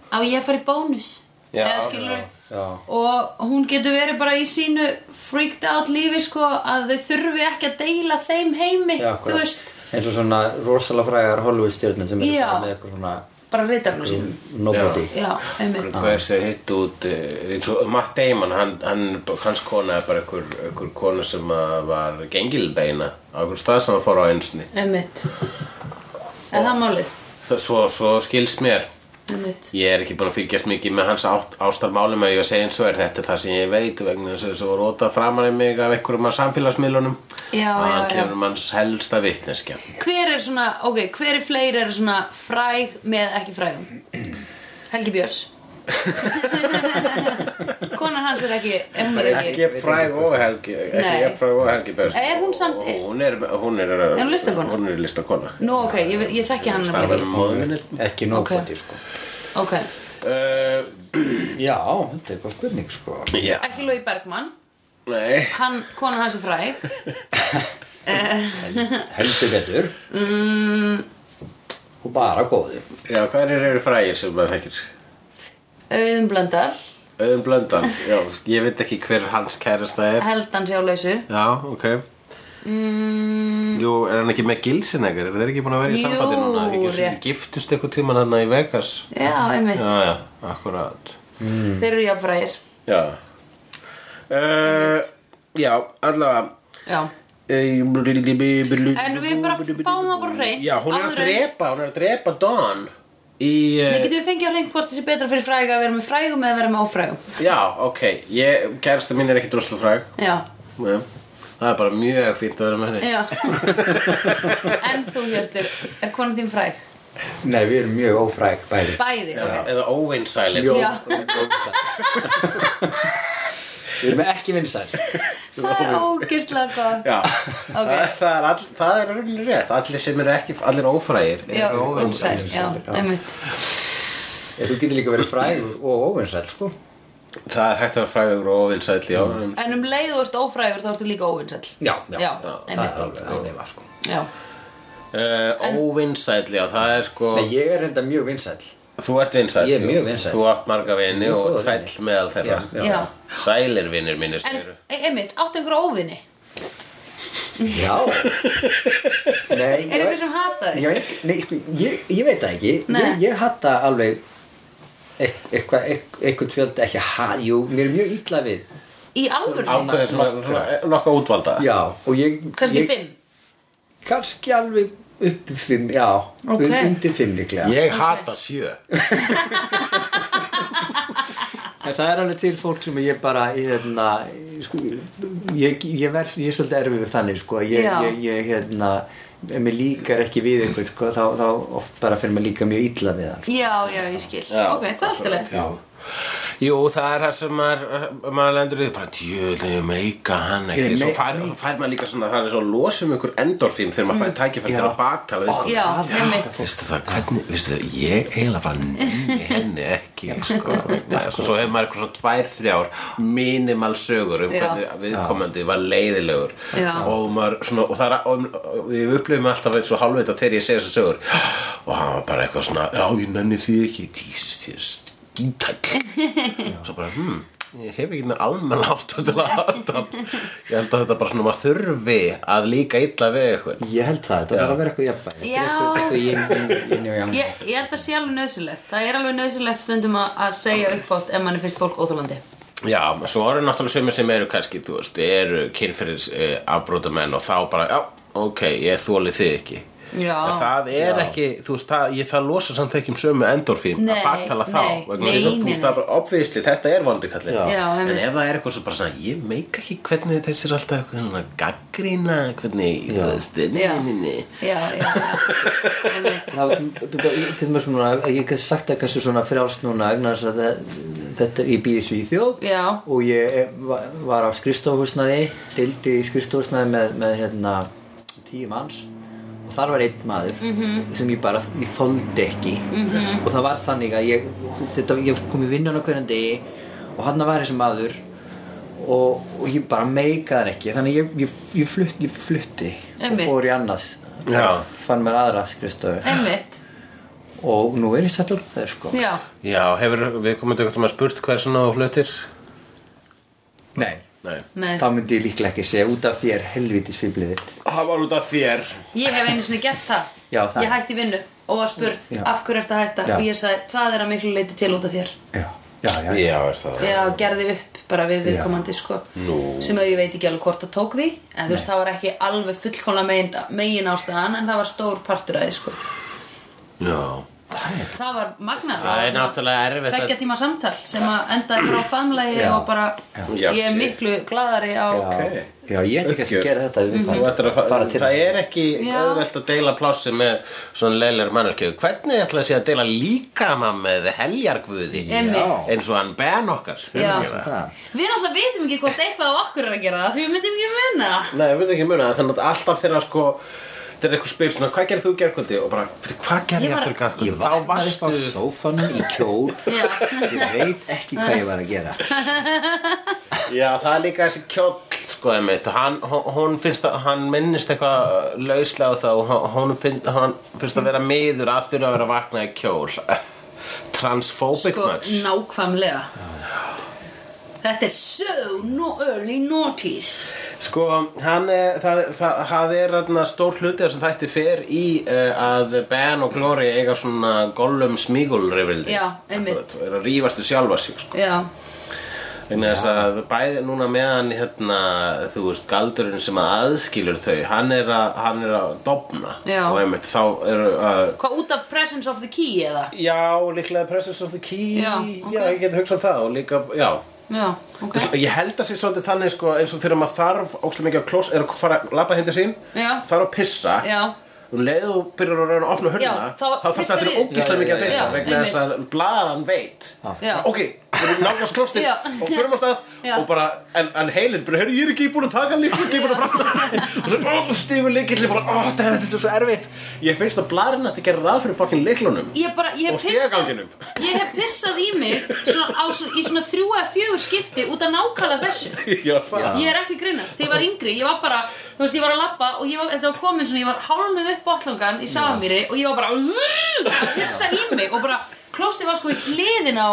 [SPEAKER 1] Á ég að fara í bónus
[SPEAKER 2] Já,
[SPEAKER 1] Eða skilur
[SPEAKER 3] já.
[SPEAKER 1] Og hún getur verið bara í sínu freaked out lífi sko Að þau þurfi ekki að deila þeim heimi
[SPEAKER 3] Já,
[SPEAKER 1] Þú veist,
[SPEAKER 3] eins og svona rosalega frægar Hollywood stjórnir sem eru
[SPEAKER 1] Já.
[SPEAKER 3] bara með eitthvað svona
[SPEAKER 1] bara reytarnum sínum
[SPEAKER 3] nobody
[SPEAKER 1] Já, einmitt
[SPEAKER 2] Hvað er sem hitt út eh, eins og Matt Damon, hann, hann, hans kona er bara einhver, einhver kona sem að var gengilbeina á einhver stað sem hann fór á einsni
[SPEAKER 1] Einmitt Er það málið?
[SPEAKER 2] Svo- svo, svo skilst mér
[SPEAKER 1] Einmitt
[SPEAKER 2] ég er ekki búin að fylgjast mikið með hans ást, ástarmálum að ég að segja eins og er þetta er það sem ég veit vegna þess að þessu voru ótað framar í mig af einhverjum af samfélagsmiðlunum
[SPEAKER 1] Já,
[SPEAKER 2] og
[SPEAKER 1] já,
[SPEAKER 2] hann
[SPEAKER 1] já.
[SPEAKER 2] kemur hans helsta vitneskja
[SPEAKER 1] Hver er svona, ok, hver er fleiri er svona fræg með ekki frægum? Helgi Björns Konan hans er ekki, ef hún er ekki
[SPEAKER 2] ekki fræg og helgi ekki
[SPEAKER 1] Nei.
[SPEAKER 2] jafn fræg og helgi best
[SPEAKER 1] Er hún samt-
[SPEAKER 2] hún er, hún er,
[SPEAKER 1] hún listakona?
[SPEAKER 2] hún er listakona
[SPEAKER 1] Nú, ok, ég, ve- ég þekki hann
[SPEAKER 2] starfa
[SPEAKER 1] nefnilega
[SPEAKER 2] með móðunni
[SPEAKER 3] ekki nobody sko
[SPEAKER 1] ekki. Ok,
[SPEAKER 2] uh,
[SPEAKER 3] já, þetta er eitthvað spurning sko
[SPEAKER 2] já,
[SPEAKER 1] ekki Lói Bergmann
[SPEAKER 2] nei
[SPEAKER 1] Hann, konan hans er fræg
[SPEAKER 3] heldur betur mm. og bara góður
[SPEAKER 2] Já, hverjir eru frægir sem maður þekkir?
[SPEAKER 1] Auðun Blöndal
[SPEAKER 2] Auðun Blöndal, já, ég veit ekki hver hans kærasta er
[SPEAKER 1] Held hans hjá lausu
[SPEAKER 2] Já, ok mm. Jú, er hann ekki með gilsinnegar? Er þeir ekki búin að vera í
[SPEAKER 1] Jú,
[SPEAKER 2] sambandi núna? Ekki sem
[SPEAKER 1] rétt.
[SPEAKER 2] giftust eitthvað tíman hann í Vegas
[SPEAKER 1] Já, einmitt,
[SPEAKER 2] Já, já, akkurat
[SPEAKER 1] þeir eru jafnfrægir
[SPEAKER 2] Já uh, Já, allavega
[SPEAKER 1] Já,
[SPEAKER 2] En
[SPEAKER 1] en
[SPEAKER 2] við
[SPEAKER 1] við bara fáum það bara reynd
[SPEAKER 2] Já, hún er að drepa, hún er að drepa Dawn Í eh,
[SPEAKER 1] Nei, getum við fengið að reynd hvort þessi betra fyrir fræg að vera með frægum eða vera með ófrægum
[SPEAKER 2] Já, ok, ég, kærasta mín er ekki droslu fræg
[SPEAKER 1] Já,
[SPEAKER 2] Nei, það er bara mjög fínt að vera með henni
[SPEAKER 1] Já En þú Hjörtur, er konan þín fræg?
[SPEAKER 3] nei, við erum mjög ófræk bæði
[SPEAKER 1] Bæði, ok
[SPEAKER 2] Eða óvinsælir
[SPEAKER 3] Jó,
[SPEAKER 1] Já.
[SPEAKER 3] og vinsæl Við erum ekki vinsæl
[SPEAKER 1] Það er ógeðslega gott
[SPEAKER 2] Já.
[SPEAKER 1] Ok.
[SPEAKER 2] Það, það er all, það er rauninni rétt Allir sem eru ekki, allir ófrægir
[SPEAKER 1] Já,
[SPEAKER 2] eru
[SPEAKER 1] óvinsæl, já,
[SPEAKER 3] já.
[SPEAKER 1] einmitt
[SPEAKER 3] Ég, Þú getur líka verið fræg og óvinsæl sko
[SPEAKER 2] það er hægt að vera frægur og ofinsæll já, en
[SPEAKER 1] En um leið þú ert ófrægur þá ertu líka óvinsæll
[SPEAKER 3] Já,
[SPEAKER 1] já,
[SPEAKER 3] það er
[SPEAKER 1] einmitt
[SPEAKER 3] alveg ánefa sko
[SPEAKER 1] Já,
[SPEAKER 2] uh, óvinsæll, já, það er sko
[SPEAKER 3] Nei, ég er enda mjög vinsæll
[SPEAKER 2] þú ert vinsæll,
[SPEAKER 3] Ég er
[SPEAKER 2] jú.
[SPEAKER 3] mjög vinsæll.
[SPEAKER 2] þú átt marga vini
[SPEAKER 3] Mjög
[SPEAKER 2] og
[SPEAKER 3] góða
[SPEAKER 2] sæll meðal þeirra
[SPEAKER 3] Já, já.
[SPEAKER 1] já
[SPEAKER 2] sælir vinnir mínir sem
[SPEAKER 1] En
[SPEAKER 2] eru
[SPEAKER 1] e- einmitt, áttu einhverja óvinni
[SPEAKER 3] Já Nei,
[SPEAKER 1] Er einhver sem hata þig?
[SPEAKER 3] Já, ég, nei, sko, ég, ég veit það ekki
[SPEAKER 1] Nei.
[SPEAKER 3] ég, ég hatta alveg eit- eitthvað eit- eitthvað fjöld ekki að jú, mér er mjög illa við
[SPEAKER 1] Í alvöru?
[SPEAKER 2] ákveður svona- svona- nokka útvalda
[SPEAKER 3] já, og ég
[SPEAKER 1] Kannski
[SPEAKER 3] ég-
[SPEAKER 1] fimm?
[SPEAKER 3] kannski alveg upp í fimm, já
[SPEAKER 1] Ok.
[SPEAKER 3] un- undir fimm líklega
[SPEAKER 2] ég hata sjö
[SPEAKER 3] en það er alveg til fólk sem ég bara ég, hérna, sko, ég, ég, verð, ég er svolítið erfið við þannig sko, ég,
[SPEAKER 1] Já.
[SPEAKER 3] ég, ég hérna ef mér líkar ekki við einhvern sko, þá, þá oft bara fyrir mér líka mjög illa við hann
[SPEAKER 1] Já, já, ég skil
[SPEAKER 2] Já.
[SPEAKER 1] Ok, það er alltaf leið
[SPEAKER 3] já,
[SPEAKER 2] Jú, það er það sem maður, maður lendur í því bara djöðlega meika hann
[SPEAKER 3] Ég
[SPEAKER 2] ekki svo
[SPEAKER 3] meika
[SPEAKER 2] fær, svo fær maður líka svona, það er svo losum ykkur endorfím um þegar maður fær tækifært til
[SPEAKER 3] Mm. Já.
[SPEAKER 2] að baktala við ykkur
[SPEAKER 1] Já, einmitt.
[SPEAKER 2] Veistu það, hvernig, veistu það, ég eiginlega bara nýði henni ekki sko. Svo hefur maður eitthvað svona tvær, þrjár minimal sögur um
[SPEAKER 1] Já.
[SPEAKER 2] hvernig viðkomandi var leiðilegur
[SPEAKER 1] Já.
[SPEAKER 2] og maður svona, og það er og, og við upplifum alltaf eins og hálfveita þegar ég segi þessar sögur og hann var bara eitthvað svona já, ég nenni því ekki, tísist ég er skítall og svo bara, hm, ég hef ekki almenn áttu til að hata ég held að þetta bara svona maður þurfi að líka illa við eitthvað
[SPEAKER 3] ég held það, þetta þarf að vera eitthvað jafnvæg
[SPEAKER 1] Já.
[SPEAKER 3] eitthvað
[SPEAKER 1] Ég, ég held að sé alveg nöðsilegt Það er alveg nöðsilegt stundum að, að segja uppátt ef mann er fyrst fólk óþólandi
[SPEAKER 2] Já, svo eru náttúrulega sömur sem eru kannski, þú veist, eru kynferðis uh, afbrótamenn og þá bara, já, ok, ég þóli þig ekki.
[SPEAKER 1] Já.
[SPEAKER 2] En það er ekki, þú veist, það, ég, það losa samt ekki um sömu endorfín
[SPEAKER 1] Nei,
[SPEAKER 2] að baktala þá.
[SPEAKER 1] nei,
[SPEAKER 2] vegna þess að
[SPEAKER 1] nei,
[SPEAKER 2] þú
[SPEAKER 1] nei,
[SPEAKER 2] veist, það er bara obviðisli, þetta er vondi kallið.
[SPEAKER 3] Já.
[SPEAKER 1] Já,
[SPEAKER 2] en
[SPEAKER 1] einmitt.
[SPEAKER 2] ef það er eitthvað sem bara svona, ég meika ekki hvernig þessi er alltaf eitthvað svona gaggrína, hvernig, þú veist, nei,
[SPEAKER 1] Já.
[SPEAKER 2] nei, nei,
[SPEAKER 1] Já, já, já Einmitt.
[SPEAKER 3] Það var til- til til mér svona, ég hef sagt það kannski svona frjálst núna vegna þess að það- þetta er ég býði Svíþjóð
[SPEAKER 1] Já.
[SPEAKER 3] og ég er- va- var á skrifstofhúsnaði, dildi í skrifstofhúsnaði með, með hérna tíu manns og þar var einn maður
[SPEAKER 1] Mhm.
[SPEAKER 3] -hmm. sem ég bara, ég þoldi ekki -hmm. og það var þannig að ég, þetta, ég kom í vinnan á hverjum degi og hann var þessi maður og, og ég bara meikaði hann ekki þannig ég, ég, ég, flutt, ég flutti og
[SPEAKER 1] Einmitt.
[SPEAKER 3] fór í annars
[SPEAKER 2] Já.
[SPEAKER 3] fann mér aðra skrifstofu
[SPEAKER 1] Einmitt
[SPEAKER 3] og nú er ég settur þér sko
[SPEAKER 1] Já,
[SPEAKER 2] Já, hefur við komið til að spurt hver svona og flutir?
[SPEAKER 3] nei,
[SPEAKER 2] Nei.
[SPEAKER 1] nei
[SPEAKER 3] þá myndi ég líklega ekki segja út af þér helvitis fýblið þitt
[SPEAKER 2] Það var út af þér.
[SPEAKER 1] Ég hef einu sinni gert það
[SPEAKER 3] Já, það.
[SPEAKER 1] Ég hætti vinnu og var spurð
[SPEAKER 3] Já.
[SPEAKER 1] af hverju ertu að hætta
[SPEAKER 3] Já.
[SPEAKER 1] og ég sagði það er að miklu leiti til út af þér
[SPEAKER 3] já, já, já,
[SPEAKER 2] Já, er það.
[SPEAKER 1] Já, gerði upp bara við viðkomandi sko
[SPEAKER 2] Nú.
[SPEAKER 1] sem að ég veit ekki alveg hvort það tók því en þú veist það var ekki alveg fullkomlega megin, megin ástæðan en það var stór partur að því sko
[SPEAKER 2] Já.
[SPEAKER 1] það var magnað
[SPEAKER 2] Það er náttúrulega erfitt
[SPEAKER 1] tveggja
[SPEAKER 2] að-
[SPEAKER 1] tíma samtal sem að endaði bara á famlegi
[SPEAKER 3] Já.
[SPEAKER 1] og bara
[SPEAKER 2] Já.
[SPEAKER 1] ég er miklu gladari á
[SPEAKER 3] já, já ég ætti ekki
[SPEAKER 2] Uppgjör.
[SPEAKER 3] að gera þetta
[SPEAKER 1] Mhm.
[SPEAKER 3] mm
[SPEAKER 2] Þú ættir að fa-
[SPEAKER 3] fara til
[SPEAKER 2] það er ekki
[SPEAKER 1] Já.
[SPEAKER 2] auðvelt að deila plássi með svona leilir mannarkjöðu hvernig ætla að sé að deila líkama með heljargvöði
[SPEAKER 1] Einmitt.
[SPEAKER 2] eins og hann ben okkar
[SPEAKER 1] Já.
[SPEAKER 3] það
[SPEAKER 1] við náttúrulega vitum ekki hvort eitthvað á okkur er að gera það því við myndum ekki munna það.
[SPEAKER 2] Nei, ég veit ekki muna það, þannig að alltaf þegar sko þetta er eitthvað spil svona, hvað gerði þú gerkvöldi og bara, "Veitu, hvað gerði
[SPEAKER 1] Ég
[SPEAKER 2] ég
[SPEAKER 1] var-
[SPEAKER 2] aftur gerkvöldi
[SPEAKER 3] ég
[SPEAKER 2] þá
[SPEAKER 3] vaknaði upp á
[SPEAKER 2] varstu
[SPEAKER 3] sófanum í kjól
[SPEAKER 1] Já.
[SPEAKER 3] ég veit ekki hvað ég var að gera
[SPEAKER 2] Já, það er líka þessi kjóll sko, einmitt, hann, hon- hún finnst að hann minnist eitthvað lauslega á það og hon- honum finn, hann finnst að vera miður að þurfa að vera að vakna í kjól Transphobic
[SPEAKER 1] sko,
[SPEAKER 2] much
[SPEAKER 1] nákvæmlega þetta er so no early notice
[SPEAKER 2] Sko, hann er, það, það, það er aðna, stór hluti sem þætti fer í uh, að Ben og Glory eiga svona Gollum smígulrifildi
[SPEAKER 1] Já, einmitt.
[SPEAKER 2] Það er að rífastu sjálfa sig sko.
[SPEAKER 1] já,
[SPEAKER 2] Þannig þess að bæði núna meðan hérna, þú veist, galdurinn sem að aðskilur þau, hann er að, hann er að dofna
[SPEAKER 1] Já.
[SPEAKER 2] og einmitt þá eru að
[SPEAKER 1] hvað út af presence of the key eða
[SPEAKER 2] Já, líklega Presence of the Key
[SPEAKER 1] Já, ok.
[SPEAKER 2] já ég get hugsað það og líka, já
[SPEAKER 1] já, ok
[SPEAKER 2] Ég held að sé svolítið þannig sko, eins og þegar maður þarf ókslega mikið að klós er að fara að labba hindi sín
[SPEAKER 1] Já.
[SPEAKER 2] þarf að pissa
[SPEAKER 1] Já.
[SPEAKER 2] um leið og byrjar að reyna að opna hurðina
[SPEAKER 1] Já, þá
[SPEAKER 2] þá þarf
[SPEAKER 1] pissar
[SPEAKER 2] það fyrir
[SPEAKER 1] í.
[SPEAKER 2] ógislega
[SPEAKER 3] Já,
[SPEAKER 2] mikið að
[SPEAKER 3] já, já,
[SPEAKER 2] pissa
[SPEAKER 1] já.
[SPEAKER 2] vegna þess að blaðan veit
[SPEAKER 1] Já.
[SPEAKER 2] ok, fyrir nálgast klostið
[SPEAKER 1] Já.
[SPEAKER 2] og fyrir á stað
[SPEAKER 1] Já.
[SPEAKER 2] og bara, en, en heilin, bara, heyrðu, ég er ekki búin að taka líkil ekki búin að framlega og svo ó, stígur líkil, bara, ó, þetta er svo erfitt ég finnst að blærin að þetta gerir ráð fyrir fokkin líklunum
[SPEAKER 1] Ég bara, ég hef
[SPEAKER 2] Og
[SPEAKER 1] pissað
[SPEAKER 2] stigaganginum.
[SPEAKER 1] Ég hef pissað í mig svona, á, svona, í svona þrjú eða fjögur skipti út af nákvæmlega þessu
[SPEAKER 2] já, það
[SPEAKER 1] Ég er ekki að grínast, þegar ég var yngri, ég var bara, þú veist, ég var að labba og ég var, þetta var komin svona, ég var hálnuð upp botlangan í Safamýri og ég var bara "Ugh", að pissa í mig og bara, klóstið var sko í hliðin á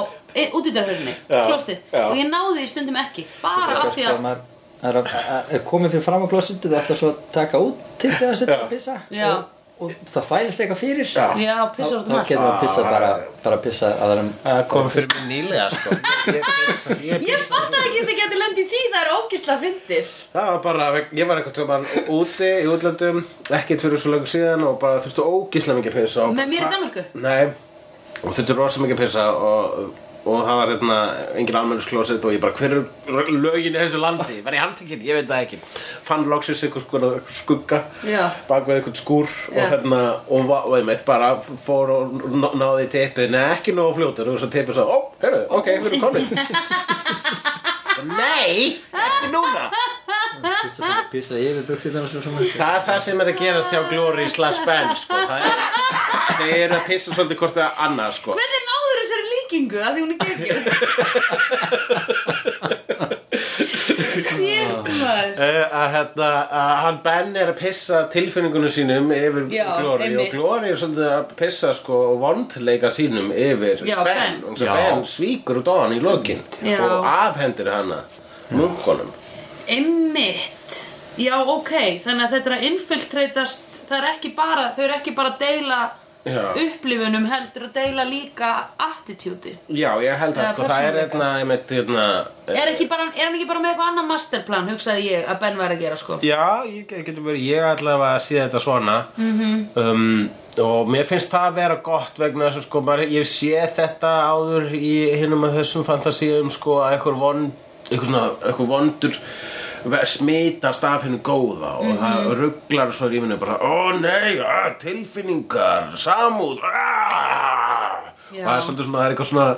[SPEAKER 1] útíðarhörni, klóstið,
[SPEAKER 2] já.
[SPEAKER 1] og ég náði því stundum ekki, bara af því
[SPEAKER 4] Sko,
[SPEAKER 1] að,
[SPEAKER 4] maður- maður er að- að- að komið fyrir fram á klossetu þú ætlar svo að taka út til að setja
[SPEAKER 2] Já.
[SPEAKER 4] að pissa
[SPEAKER 1] Já.
[SPEAKER 4] og, og það fælist eitthvað fyrir
[SPEAKER 1] já,
[SPEAKER 4] þá
[SPEAKER 1] pissa út
[SPEAKER 4] þá
[SPEAKER 1] um allt. Ah,
[SPEAKER 4] getur maður
[SPEAKER 2] Ah.
[SPEAKER 4] pissa bara, bara pissa aðra
[SPEAKER 2] kom fyrir mig nýlega, sko Ég pissa- ég
[SPEAKER 1] Ég fattaði ekki að þið geti lendið í því, það er ógislega fyndið.
[SPEAKER 2] Það var bara, ég var eitthvað tíma úti í útlöndum, ekkert fyrir svo langt síðan og bara þurftu ógíslega mikið pissa og-
[SPEAKER 1] Með mér í Danmörku?
[SPEAKER 2] Nei, og þurftu rosa mikið pissa og, og það var hérna engin almennisklósett og ég bara, hver eru lögin í þessu landi? Var ég handtekinn? Ég veit það ekki Fann loksins einhvers konar skugga
[SPEAKER 1] Já.
[SPEAKER 2] bak við einhvern skúr
[SPEAKER 1] Já.
[SPEAKER 2] og hérna, og, va- og einmitt bara fór og ná- náði í teipið, neða ekki nógu fljótur og svo teipið sá, ó, heyrðu, ok, við erum komin Nei, ekki núna
[SPEAKER 4] pissa,
[SPEAKER 1] ah.
[SPEAKER 4] svona- pissa yfir buksirnar og svona
[SPEAKER 2] Það er það sem er að gerast hjá Glory slash Ben sko. Það er, þeir eru að pissa svolítið hvort að annað sko.
[SPEAKER 1] Hvernig náður þessari líkingu að því hún er geggjöð? Sétt maður.
[SPEAKER 2] Uh, að, hérna, að hann Ben er að pissa tilfinningunum sínum yfir
[SPEAKER 1] Já,
[SPEAKER 2] Glory
[SPEAKER 1] einmitt.
[SPEAKER 2] og Glory er svolítið að pissa sko, og vondleika sínum yfir
[SPEAKER 1] Já,
[SPEAKER 2] Ben
[SPEAKER 1] Ben.
[SPEAKER 2] og svo
[SPEAKER 4] Já.
[SPEAKER 2] Ben svíkur út á hann í lokin
[SPEAKER 1] Já.
[SPEAKER 2] og afhendir hana munkunum
[SPEAKER 1] Einmitt. Já, ok, þannig að þetta er að infiltreitast, það er ekki bara, þau eru ekki bara að deila
[SPEAKER 2] Já.
[SPEAKER 1] upplifunum heldur að deila líka attitúti.
[SPEAKER 2] Já, ég held að
[SPEAKER 1] Eða
[SPEAKER 2] sko, það er
[SPEAKER 1] persónuleika.
[SPEAKER 2] einna, einmitt, hérna, einna,
[SPEAKER 1] Er, ekki bara, er hann ekki bara með eitthvað annað masterplan, hugsaði ég að Ben væri að gera sko.
[SPEAKER 2] Já, ég get- getur verið, ég allavega að sé þetta svona -hmm. um, og mér finnst það að vera gott vegna þess að sko, bara, ég sé þetta áður í hinum að þessum fantasíum sko, að einhver vond einhver, svona, einhver vondur ver- smitast af hennu
[SPEAKER 1] Mhm.
[SPEAKER 2] góða og það rugglar svo rífinu bara ó nei, að, tilfinningar samúð aah." og
[SPEAKER 1] Já.
[SPEAKER 2] það er svolítið svona, það er eitthvað svona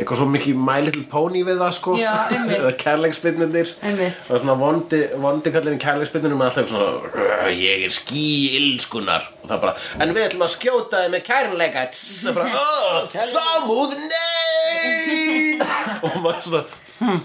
[SPEAKER 2] eitthvað svo mikið My Little Pony við það sko
[SPEAKER 1] Já, einmitt.
[SPEAKER 2] eða kærleiksbyrnirnir
[SPEAKER 1] Einmitt.
[SPEAKER 2] Það er svona vondi, vondi kallin í kærleiksbyrnunum alltaf eitthvað svona Ég er ský ilskunar Og það bara, en við ætlum að skjóta þið með kærleika Tss, Það bara, "Ugh, samúð, nei Og maður svona hm,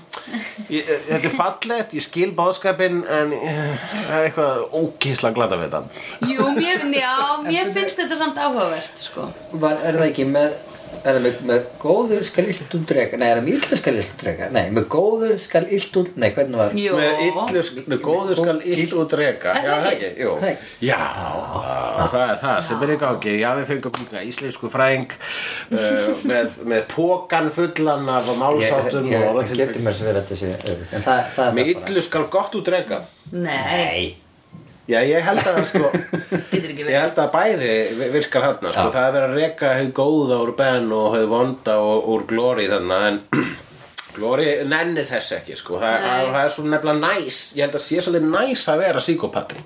[SPEAKER 2] ég, Þetta er fallegt, ég skil báðskapin En eh, það er eitthvað ókísla glada við þetta
[SPEAKER 1] Jú, mér, já, mér finnst þetta samt áhugavert sko.
[SPEAKER 4] Var, er það ekki með er það með, með góðu skal illt úr drega nei, er það með illu skal illt úr drega nei, með góðu skal illt úr nei, hvernig var
[SPEAKER 1] Jú.
[SPEAKER 2] Með illu, sk- góðu skal illt út reka
[SPEAKER 1] Er
[SPEAKER 2] Já,
[SPEAKER 1] það
[SPEAKER 2] það
[SPEAKER 1] ekki?
[SPEAKER 2] ekki, jú
[SPEAKER 4] Það ekki?
[SPEAKER 2] Já, það er það sem er í gangi Já, við fengum íslensku fræðing uh, með, með pókan fullan af málsáttum og
[SPEAKER 4] ég
[SPEAKER 2] orðatilfærum.
[SPEAKER 4] getur mér sem verið að þetta sé öfugt. en það, það er
[SPEAKER 2] Með
[SPEAKER 4] það
[SPEAKER 2] illu skal gott út reka
[SPEAKER 1] Nei,
[SPEAKER 2] Já, ég held að sko
[SPEAKER 1] getur ekki
[SPEAKER 2] Ég
[SPEAKER 1] verið.
[SPEAKER 2] held að bæði vi- virkar þarna sko. Það er verið að reka hefð góða úr Ben og hefð vonda og, úr Glory þarna en Glory nennir þess ekki sko. það,
[SPEAKER 1] Nei.
[SPEAKER 2] það, það er svo nefnilega næs Ég held að sé svolítið næs að vera psíkopati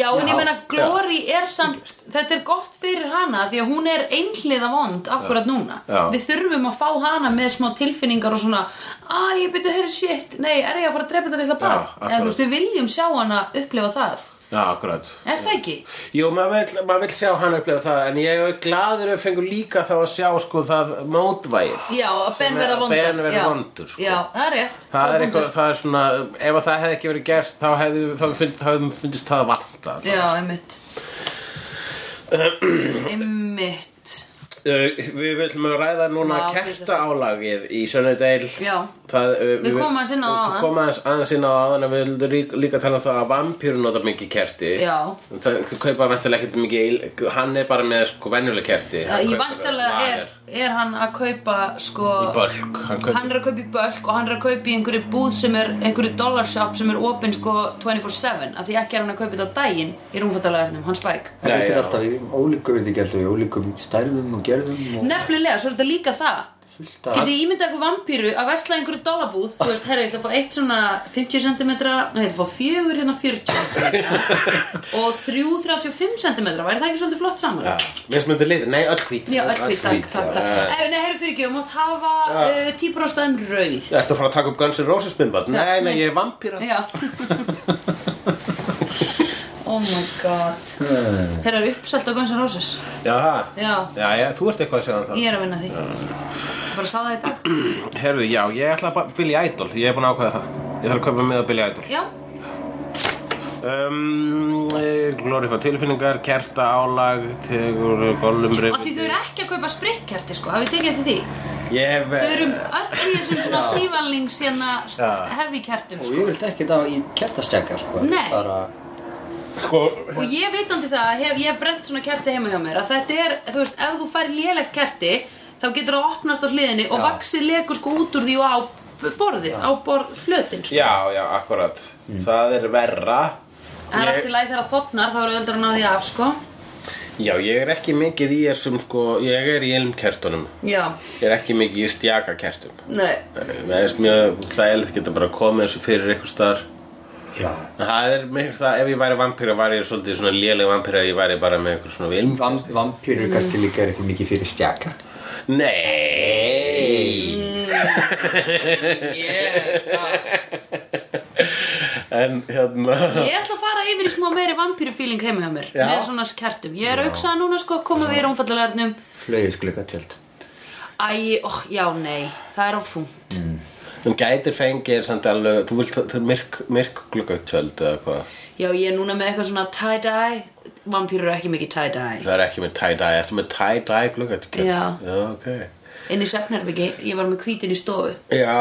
[SPEAKER 1] Já, en ég meina, Glory er samt, þetta er gott fyrir hana því að hún er einhliða vond akkurat núna.
[SPEAKER 2] Já.
[SPEAKER 1] Við þurfum að fá hana með smá tilfinningar og svona, að ég byrju að heyra shit, nei, er ég að fara að drepa þetta litla barn?
[SPEAKER 2] akkurat.
[SPEAKER 1] Eða þú veist, við viljum sjá hana upplifa það.
[SPEAKER 2] Já, akkurat
[SPEAKER 1] Er það ekki?
[SPEAKER 2] Jú, maður vill, maður vill sjá hann upplefa það en ég er gladur að fengu líka þá að sjá sko það mótvægið
[SPEAKER 1] Já, að Ben
[SPEAKER 2] er-
[SPEAKER 1] verða
[SPEAKER 2] að
[SPEAKER 1] vondur.
[SPEAKER 2] Ben verða
[SPEAKER 1] Já.
[SPEAKER 2] vondur, sko.
[SPEAKER 1] Já, það er rétt.
[SPEAKER 2] Það er
[SPEAKER 1] vondur.
[SPEAKER 2] eitthvað, það er svona, ef að það hefði ekki verið gert þá hefði, þá fund, hefði fundist það vanta
[SPEAKER 1] Já, einmitt. einmitt.
[SPEAKER 2] uh, Við viljum að ræða núna
[SPEAKER 1] Vá,
[SPEAKER 2] kerta álagið í Sönnudeil
[SPEAKER 1] Já.
[SPEAKER 2] Það, uh,
[SPEAKER 1] Við komum aðeins inn á áðan.
[SPEAKER 2] Við komum aðeins, aðeins inn á áðan en við vildum rí- líka tala um það að vampýrur nota mikið kerti
[SPEAKER 1] Já.
[SPEAKER 2] Það þau kaupa vantilega ekkert mikið, il- hann er bara með sko venjuleg kerti
[SPEAKER 1] Já,
[SPEAKER 2] Hann
[SPEAKER 1] Í
[SPEAKER 2] kaupir
[SPEAKER 1] vantarlega er,
[SPEAKER 2] lager
[SPEAKER 1] er hann að kaupa sko
[SPEAKER 2] Í bölk, hann kaupir
[SPEAKER 1] hann er að kaupa í bölk og hann er að kaupa í einhverju búð sem er einhverju dollarshop sem er opinn sko 24-7 af því ekki er hann að kaupa þetta á daginn í rúmfattalagarnum, hann spæk
[SPEAKER 4] bara þetta
[SPEAKER 2] Já, já.
[SPEAKER 4] er alltaf í ólíkum, þetta er alltaf í ólíkum stærðum og gerðum og
[SPEAKER 1] nefnilega, svo er þetta líka það
[SPEAKER 4] fullt af
[SPEAKER 1] Getið þið ímyndað eitthvað vampíru að vesla í einhverju dollabúð Þú veist, herra, ég ætla að fá eitt svona 50 cm Nei, ég ætla að fá fjögur hérna 40 cm Og þrjú 35 cm Væri það ekki svolítið flott saman?
[SPEAKER 2] Já, mismunandi litur, nei, öll hvít
[SPEAKER 1] Já, öll hvít, takk, takk, takk Ef, Nei, herru fyrir ekki, þú mátt hafa uh, 10% um rauð
[SPEAKER 2] Ertu að fara að taka upp Guns N' Roses minnband? Nei, nei,
[SPEAKER 1] nei.
[SPEAKER 2] ég er vampíra
[SPEAKER 1] Já Oh my god Herra, uppselt á Guns N' Roses
[SPEAKER 2] Já, það
[SPEAKER 1] Já,
[SPEAKER 2] Já, já, þú ert eitthvað að segja um það
[SPEAKER 1] ég er að vinna því Ég bara sá það í dag
[SPEAKER 2] Herðu, já, ég ætla að byrja Idol Ég er búin að ákveða það Ég þarf að kaupa með að byrja Idol
[SPEAKER 1] Já,
[SPEAKER 2] um, eh, Glorifa tilfinningar, kerta álag Tegur, gollum,
[SPEAKER 1] af því þau eru ekki að kaupa spritkerti sko, hafið tekið eftir því
[SPEAKER 2] Ég hef
[SPEAKER 1] Þau eru öll í þessum svona sívalnings hérna
[SPEAKER 2] Já.
[SPEAKER 1] hefi kertum
[SPEAKER 4] og
[SPEAKER 1] sko.
[SPEAKER 4] ég vilt ekki þá í kertastjaka sko
[SPEAKER 1] Nei.
[SPEAKER 4] bara
[SPEAKER 2] sko
[SPEAKER 1] Og ég vitandi það, hef, ég hef brent svona kerti heima hjá mér að þetta er, þú veist, ef þú fær lélegt kerti þá getur það opnast á hliðinni og
[SPEAKER 4] Já.
[SPEAKER 1] vaxið legur sko út úr því og á borðið, á borð flötinn sko.
[SPEAKER 2] Já, já, akkurat Það er verra
[SPEAKER 1] Það er allt í lagi þegar það þotnar, þá eru öllur að ná því af sko.
[SPEAKER 2] Já, ég er ekki mikið í þessum sko Ég er í ilmkertunum
[SPEAKER 1] Já,
[SPEAKER 2] Ég er ekki mikið í stjakakertum
[SPEAKER 1] nei,
[SPEAKER 2] Það er mjög þægilegt geta bara komið þessu fyrir ykkur staðar
[SPEAKER 4] já
[SPEAKER 2] En Það er mikið það, ef ég væri vampíra var ég svolítið svona léleg vampíra ég væri bara með ykkur svona vilm
[SPEAKER 4] Vam, vampýrur kannski líka er ekki mikið fyrir stjaka
[SPEAKER 2] Nei
[SPEAKER 1] ég,
[SPEAKER 2] En hérna
[SPEAKER 1] ég ætla að fara yfir í smá meiri vampíru feeling heima hjá mér
[SPEAKER 2] Já.
[SPEAKER 1] með svona kertum. Ég er að hugsa að núna sko að koma við rúmfallalernum
[SPEAKER 4] flögis gluggatjöld
[SPEAKER 1] Æ, ó, já, nei, það er á þungt
[SPEAKER 2] Þú gætir fengið er samt alveg Þú vilt þú er myrk, myrk gluggatjöld eða hvað
[SPEAKER 1] Já, ég er núna með eitthvað svona tie-dye Vampýrur eru ekki mikið tie-dye
[SPEAKER 2] Það er ekki með tie-dye Ertu með tie-dye gluggatjöld?
[SPEAKER 1] Já.
[SPEAKER 2] Já, ok
[SPEAKER 1] Inn í svefnherbyggi, ég var með hvítin í stofu
[SPEAKER 2] Já,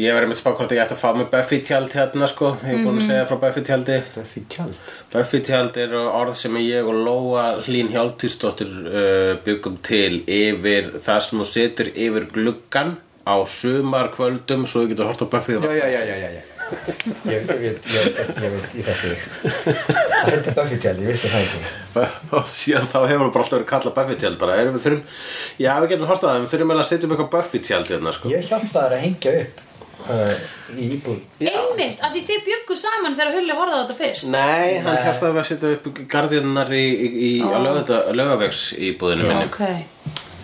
[SPEAKER 2] ég verið með spá hvort ég ætti að fá með Buffy tjald hérna sko Ég er búin að segja frá Buffy tjaldi
[SPEAKER 4] Buffy tjöld
[SPEAKER 2] Buffy tjald er orð sem ég og Lóa Hlín Hjálptísdóttir uh, byggum til yfir það sem hún setur yfir gluggan á sumarkvöldum svo þú getur hort á Buffy
[SPEAKER 4] já já já já já, já. Ég, ég veit ég, ég, ég veit ég þetta það heitir Buffy tjöld ég vissi það ekki
[SPEAKER 2] og síðan þá hefur hún bara alltaf verið kallað Buffy tjald bara erum við þurfum já við getum hort á það en við þurfum eiginlega að setja um eitthvað Buffy tjald hérna sko
[SPEAKER 4] ég hjálpa þær að hengja upp uh, í íbúð
[SPEAKER 1] Einmitt, af því þið bjuggu saman þegar Hulli horfði á þetta fyrst
[SPEAKER 2] Nei, hann kæftaði að setja upp gardinnar í, í, í, á laugarda- laugavegs í búðinu minni
[SPEAKER 1] Ok,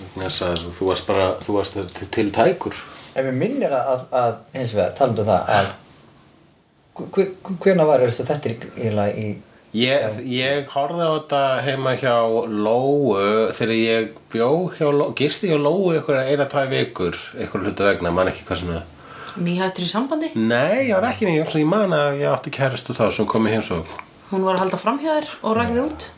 [SPEAKER 2] Vegna þess að þú varst bara, þú varst til, til tækur
[SPEAKER 4] En mér minnir að, að, að eins og vegar, talandu um það að hvernig var þess að þetta er eiginlega í
[SPEAKER 2] Ég, ég horfði á þetta heima hjá Lóu þegar ég bjó hjá Lóu, gisti hjá Lóu einhverja eina tvæ vikur, einhverja hluta vegna, man ekki hvað sem það.
[SPEAKER 1] nýhættur í sambandi
[SPEAKER 2] Nei, ég var ekki neitt, ég man að ég átti kæristu þá sem kom í heimsók.
[SPEAKER 1] Hún var að halda framhjá þér og rak þið út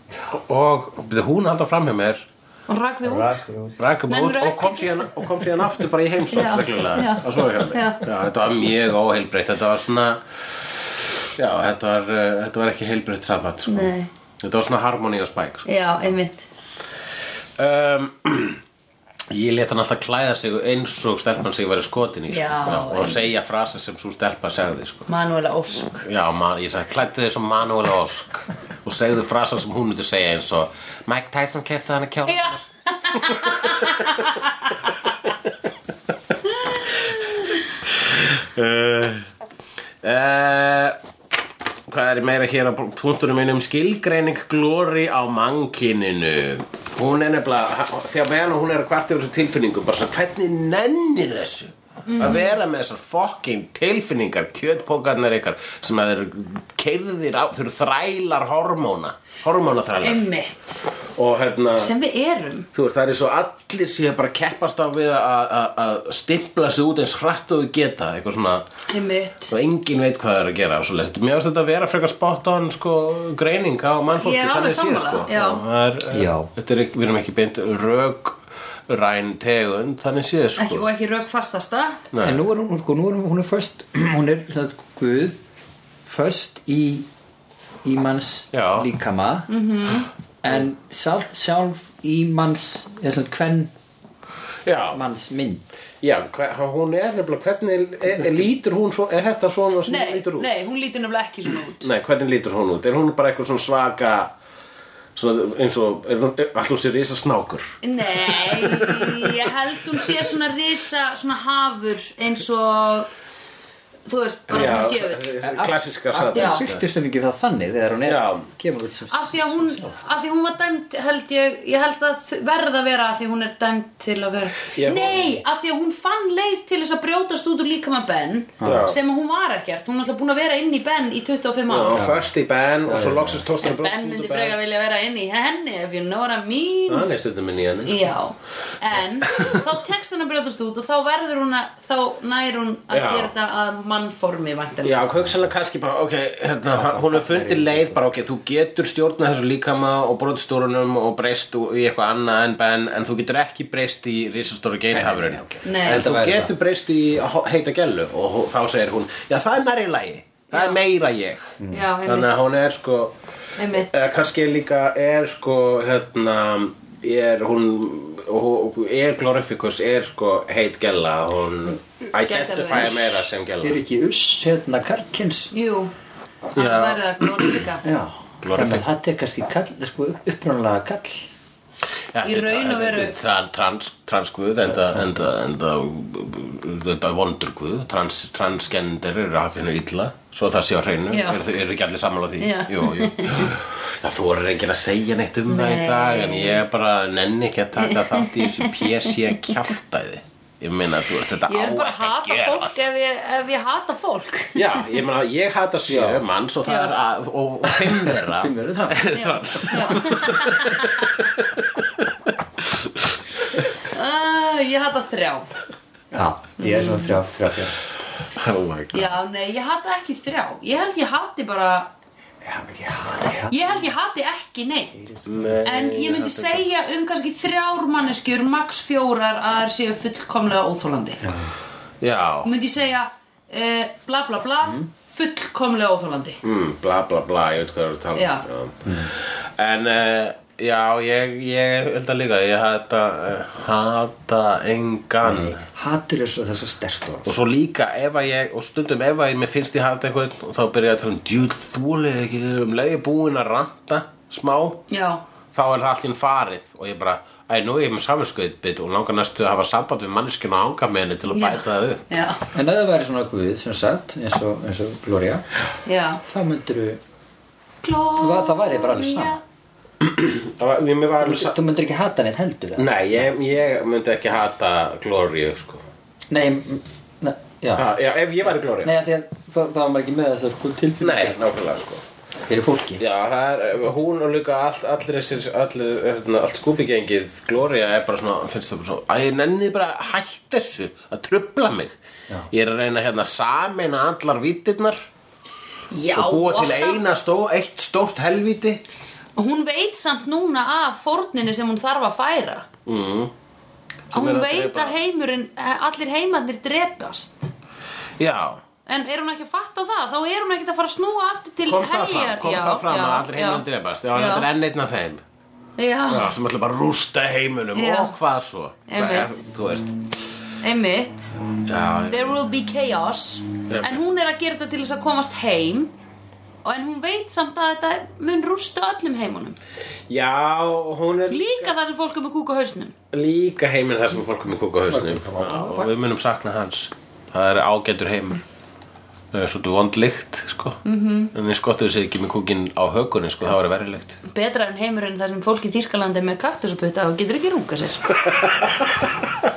[SPEAKER 2] Og byrju, hún haldi fram hjá mér,
[SPEAKER 1] Hún rak þið út
[SPEAKER 4] rak út
[SPEAKER 2] rækum
[SPEAKER 1] Nennirðu
[SPEAKER 2] út og
[SPEAKER 1] ekki
[SPEAKER 2] kom,
[SPEAKER 1] að
[SPEAKER 2] síðan, og kom síðan aftur bara í heimsók
[SPEAKER 1] Já, já.
[SPEAKER 2] reglulega. Og svo hjá mér.
[SPEAKER 1] Já.
[SPEAKER 2] Já, þetta var mjög óheilbreytt, þetta var svona, já, þetta var, uh, þetta var ekki heilbreytt samband, sko.
[SPEAKER 1] Nei.
[SPEAKER 2] Þetta var svona harmony og spæk, sko.
[SPEAKER 1] Já, einmitt
[SPEAKER 2] um, Ég let hann alltaf klæða sig eins og stelpan sig verið skotin í sko.
[SPEAKER 1] Já,
[SPEAKER 2] og segja frasa sem svo stelpa segði sko.
[SPEAKER 1] Manuela Ósk
[SPEAKER 2] Já, man, ég sagði klættu þig sem Manuel Ósk og segðu frasa sem hún myndi segja eins og Mike Tyson kefti hann að kjálfa
[SPEAKER 1] Já
[SPEAKER 2] uh, uh, Hvað er meira hér á punktunum mínum skilgreining glóri á mannkininu Hún er nefnilega þegar meðan hún er að kvarta yfir þessu tilfinningum bara svona hvernig nenni þessu að vera með þessar fokking tilfinningar kjötpókarnar ykkar sem að eru keirðir á, þau eru þrælar hormóna hormónaþrælar
[SPEAKER 1] Einmitt
[SPEAKER 2] og hérna
[SPEAKER 1] Sem við erum
[SPEAKER 2] Þú veist, það er eins og allir síðan bara keppast á við að- að að stimpla sig út eins hratt og við geta, eitthvað svona
[SPEAKER 1] Einmitt
[SPEAKER 2] og enginn veit hvað það er að gera og svoleiðis. Mér finnst þetta að vera frekar spot on sko, greining á mannfólki
[SPEAKER 1] Ég er alveg
[SPEAKER 2] þannig séð,
[SPEAKER 1] sammála,
[SPEAKER 2] sko.
[SPEAKER 1] já.
[SPEAKER 2] Það er, eh,
[SPEAKER 4] Já.
[SPEAKER 2] Þetta er, ekki- við erum ekki beint rögræn tegund þannig séð sko.
[SPEAKER 1] Ekki og ekki rauk fastasta
[SPEAKER 2] Nei.
[SPEAKER 4] En nú er hún, sko, nú er hún, hún er först hún er svona guð först í í manns
[SPEAKER 2] Já.
[SPEAKER 4] líkama -hmm. en sjálf, sjálf í manns eða svona hvern
[SPEAKER 2] Já,
[SPEAKER 4] manns mynd
[SPEAKER 2] já hver, hún er nefnilega hvernig er, er, lítur hún svo, er þetta svona sem hún
[SPEAKER 1] Nei,
[SPEAKER 2] lítur út?
[SPEAKER 1] nei, hún lítur nefnilega ekki svona út
[SPEAKER 2] Nei, hvernig lítur hún út? Er hún bara eitthvað svona svaka Svona eins og, er alltaf sér risa snákur
[SPEAKER 1] Nei, ég held hún sé svona risa, svona hafur eins og, þú veist, bara svona gefur.
[SPEAKER 2] eh, klassiska
[SPEAKER 4] Já.
[SPEAKER 2] satir
[SPEAKER 4] Sýttir sem ekki það þannig þegar hún er,
[SPEAKER 2] Já.
[SPEAKER 4] kemur út sem
[SPEAKER 1] Af því að hún, af því hún var dæmd, held ég, ég held að þ- verða að vera af því hún er dæmd til að vera.
[SPEAKER 2] Ég-
[SPEAKER 1] Nei, af því að hún fann leið til þess að brjótast út úr líkamann Ben,
[SPEAKER 2] Já.
[SPEAKER 1] sem að hún var ekkert. Hún er alltaf búin að vera inn í Ben í 25
[SPEAKER 2] og
[SPEAKER 1] ára.
[SPEAKER 2] först í Ben og svo loksist tóstur
[SPEAKER 1] En Ben myndi frega vilja vera inn í henni, ef you know what I mean.
[SPEAKER 2] hann er stundum inn í henni sko.
[SPEAKER 1] Já, en þá tekst hann að brjótast út og þá verður hún að, þá nær hún að
[SPEAKER 2] Já.
[SPEAKER 1] gera þetta að mannformi vantilega.
[SPEAKER 2] Já, hugsanlega kannski bara, ok, hérna, hún hefur fundið leið bara, ok, þú getur stjórnað þessu líkama og brotstúrunum og breyst úr- í eitthvað annað en Ben, en þú getur ekki breyst í risastóru geithafurinn.
[SPEAKER 1] Nei.
[SPEAKER 2] En þú
[SPEAKER 3] Þetta væri
[SPEAKER 2] getur breyst í ho- heita gellu og hó- þá segir hún, já, það er nærri lagi, það
[SPEAKER 1] Já.
[SPEAKER 2] er meira ég.
[SPEAKER 1] Já,
[SPEAKER 2] Þannig
[SPEAKER 1] einmitt,
[SPEAKER 2] að hún er sko,
[SPEAKER 1] einmitt.
[SPEAKER 2] eða kannski líka er sko, hérna, er hún, hún er glorifikus, er sko heit gella, hún identifæja
[SPEAKER 1] Geitafurinn.
[SPEAKER 2] meira sem gella.
[SPEAKER 4] er ekki uss, hérna, karkins
[SPEAKER 1] Jú, annars verður það glóðlíka.
[SPEAKER 4] Já,
[SPEAKER 2] Glorify.
[SPEAKER 4] þannig að þetta er kannski kall, sko, upprunalega kall
[SPEAKER 1] Í raun og veru.
[SPEAKER 2] Það er trans, transguð enda, enda, enda þetta er vondurguð trans, transgender eru að finna illa svo það sé á hreinu,
[SPEAKER 1] Já.
[SPEAKER 2] eru er ekki allir sammála því
[SPEAKER 1] Já.
[SPEAKER 2] jú, jú. það þú er enginn að segja neitt um það í
[SPEAKER 1] Nei.
[SPEAKER 2] dag en ég bara nenni ekki að taka þátt í þessu PC kjáftæði ég meina þú veist þetta
[SPEAKER 1] Ég er
[SPEAKER 2] á
[SPEAKER 1] bara að
[SPEAKER 2] ekki að
[SPEAKER 1] hata
[SPEAKER 2] gera
[SPEAKER 1] fólk ef ég, ef ég hata fólk.
[SPEAKER 2] já, ég meina ég hata sjö
[SPEAKER 4] Já.
[SPEAKER 2] manns og það er að, og, og fimm þeirra
[SPEAKER 4] Fimm eru trans.
[SPEAKER 2] eru trans
[SPEAKER 1] Já. uh, ég hata þrjá.
[SPEAKER 4] Já, ég er svona þrjá, þrjá, þrjá
[SPEAKER 2] oh my god
[SPEAKER 1] Já, nei, ég hata ekki þrjá. Ég held ég hati bara,
[SPEAKER 4] Já, menn, já, já
[SPEAKER 1] ég held ég hati ekki neitt.
[SPEAKER 2] Nei,
[SPEAKER 1] En ég myndi segja um kannski þrjár manneskjur, max fjórar að þær séu fullkomlega óþólandi.
[SPEAKER 2] já
[SPEAKER 1] Myndi ég segja uh, bla bla bla, fullkomlega óþólandi.
[SPEAKER 2] mm, bla bla bla, ég veit hvað það er að tala um.
[SPEAKER 1] Já.
[SPEAKER 2] Já. en uh, já, ég, ég held að líka ég hata, uh, hata engan
[SPEAKER 3] Mm.
[SPEAKER 4] Hatur er svo þess að stert orð
[SPEAKER 2] og svo líka ef að ég og stundum ef að ég mér finnst ég hata eitthvað og þá byrja ég að tala um djúl þúlið ekki um leið ég búin að ranta smá
[SPEAKER 1] Já,
[SPEAKER 2] þá er það allir farið og ég bara, æ, nú er ég með saminskauðbit og langar næstu að hafa samband við manneskinu og ánga með henni til að
[SPEAKER 1] Já.
[SPEAKER 2] bæta það upp
[SPEAKER 1] já,
[SPEAKER 4] En ef það væri svona guð, sem sagt, eins og, eins og Gloria
[SPEAKER 1] já.
[SPEAKER 4] Þá myndir
[SPEAKER 1] Glória.
[SPEAKER 4] það væri bara alveg sama.
[SPEAKER 2] Það var- mér var alveg sa-
[SPEAKER 4] þú myndir ekki hata neitt heldur það
[SPEAKER 2] Nei, ég, ég myndi ekki hata Gloríu, sko
[SPEAKER 4] Nei, m- ne, já
[SPEAKER 2] ha, já, Ef ég væri Gloríu
[SPEAKER 4] Nei, af því að það, það var maður ekki með þessar sko
[SPEAKER 2] Nei,
[SPEAKER 4] tilfinningar
[SPEAKER 2] nákvæmlega sko
[SPEAKER 4] fyrir fólki
[SPEAKER 2] Já, það er, eh, hún og líka all, allir þessir, allir, hérna, allt skúpigengið Gloria er bara svona, finnst það bara svona Æ, ég nenni bara að hætta þessu að trubla mig
[SPEAKER 4] Já.
[SPEAKER 2] Ég er að reyna hérna samin að allar vítirnar
[SPEAKER 1] Já,
[SPEAKER 2] og búa til
[SPEAKER 1] alltaf-
[SPEAKER 2] eina stó, eitt stórt helvíti
[SPEAKER 1] Hún veit samt núna af fórninu sem hún þarf að færa. Mm.
[SPEAKER 2] Sem er
[SPEAKER 1] Hún
[SPEAKER 2] að
[SPEAKER 1] veit
[SPEAKER 2] drepa.
[SPEAKER 1] að heimurinn, eh, allir heimarnir drepast.
[SPEAKER 2] Já,
[SPEAKER 1] En er hún ekki að fatta það? Þá er hún ekki að fara að snúa aftur til
[SPEAKER 2] kom það fram,
[SPEAKER 1] heljar.
[SPEAKER 2] kom
[SPEAKER 1] já,
[SPEAKER 2] það fram
[SPEAKER 1] já,
[SPEAKER 2] að allir heimann
[SPEAKER 1] já.
[SPEAKER 2] drefast Já, en þetta er enn einn af þeim
[SPEAKER 1] Já,
[SPEAKER 2] Já, sem ætla bara að rústa heiminum
[SPEAKER 1] Já.
[SPEAKER 2] og hvað svo
[SPEAKER 1] Einmitt.
[SPEAKER 2] Þú veist
[SPEAKER 1] einmitt.
[SPEAKER 2] Já,
[SPEAKER 1] There will be chaos
[SPEAKER 2] Yep.
[SPEAKER 1] En hún er að gera þetta til þess að komast heim Og en hún veit samt að þetta mun rústa öllum heimunum
[SPEAKER 2] já hún er
[SPEAKER 1] Líka það sem fólk er með kúk á hausnum
[SPEAKER 2] líka heiminn þar sem fólk er með kúkahausnum og við munum sakna hans það er ágætur heimur það er svolítið vond lykt sko. -hmm. en ég skottuðu sig ekki með kúkin á hökunni sko, það var verið lykt
[SPEAKER 1] Betra en heimurinn þar sem fólk í Þýskalandi er með kaktusuputta og getur ekki runga sér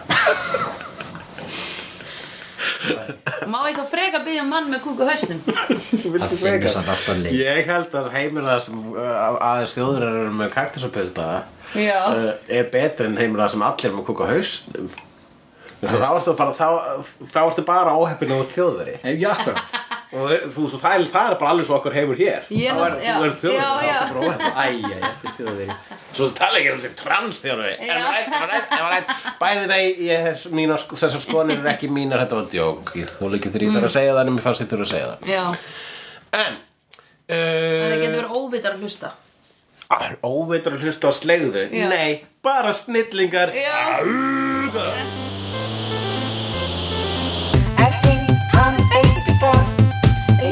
[SPEAKER 1] Má ég þá freka byggja um mann með kúk á hausnum
[SPEAKER 3] Það finnur samt alltaf leik
[SPEAKER 2] ég held að heimur þar sem uh, aðeins þjóður eru með kaktusapölda
[SPEAKER 1] Já,
[SPEAKER 2] uh, er betur en heimur þar sem allir eru með kúkahausnum þá ertu bara þá, þá ertu bara óheppinu út þjóðari
[SPEAKER 4] Nei, já, akkurat
[SPEAKER 2] og þú, svo, það, er, það er bara alveg svo okkur heimur hér
[SPEAKER 1] Ég-
[SPEAKER 2] þá er,
[SPEAKER 1] já.
[SPEAKER 2] þú er þjóðari
[SPEAKER 1] Já,
[SPEAKER 2] þá
[SPEAKER 1] já.
[SPEAKER 2] ertu bara óheppin
[SPEAKER 4] Æ, já, ég ætti þjóðveri
[SPEAKER 2] Svo þú tala ekki um þessi transþjálfi
[SPEAKER 1] Já.
[SPEAKER 2] Bæði vei, ég, þess- mínar, sk- þessar skonir eru ekki mínar Þetta var djók Ég þóla ekki þegar ég
[SPEAKER 1] Mm.
[SPEAKER 2] þarf að segja það En mér fannst ég þurfa að segja
[SPEAKER 1] já
[SPEAKER 2] það En
[SPEAKER 1] Það
[SPEAKER 2] uh,
[SPEAKER 1] getur verið óvitar að hlusta
[SPEAKER 2] að- Óveitur að hlusta á slegðu
[SPEAKER 1] Já.
[SPEAKER 2] Nei, bara snillingar
[SPEAKER 1] Já,
[SPEAKER 5] I've seen honest faces before. They're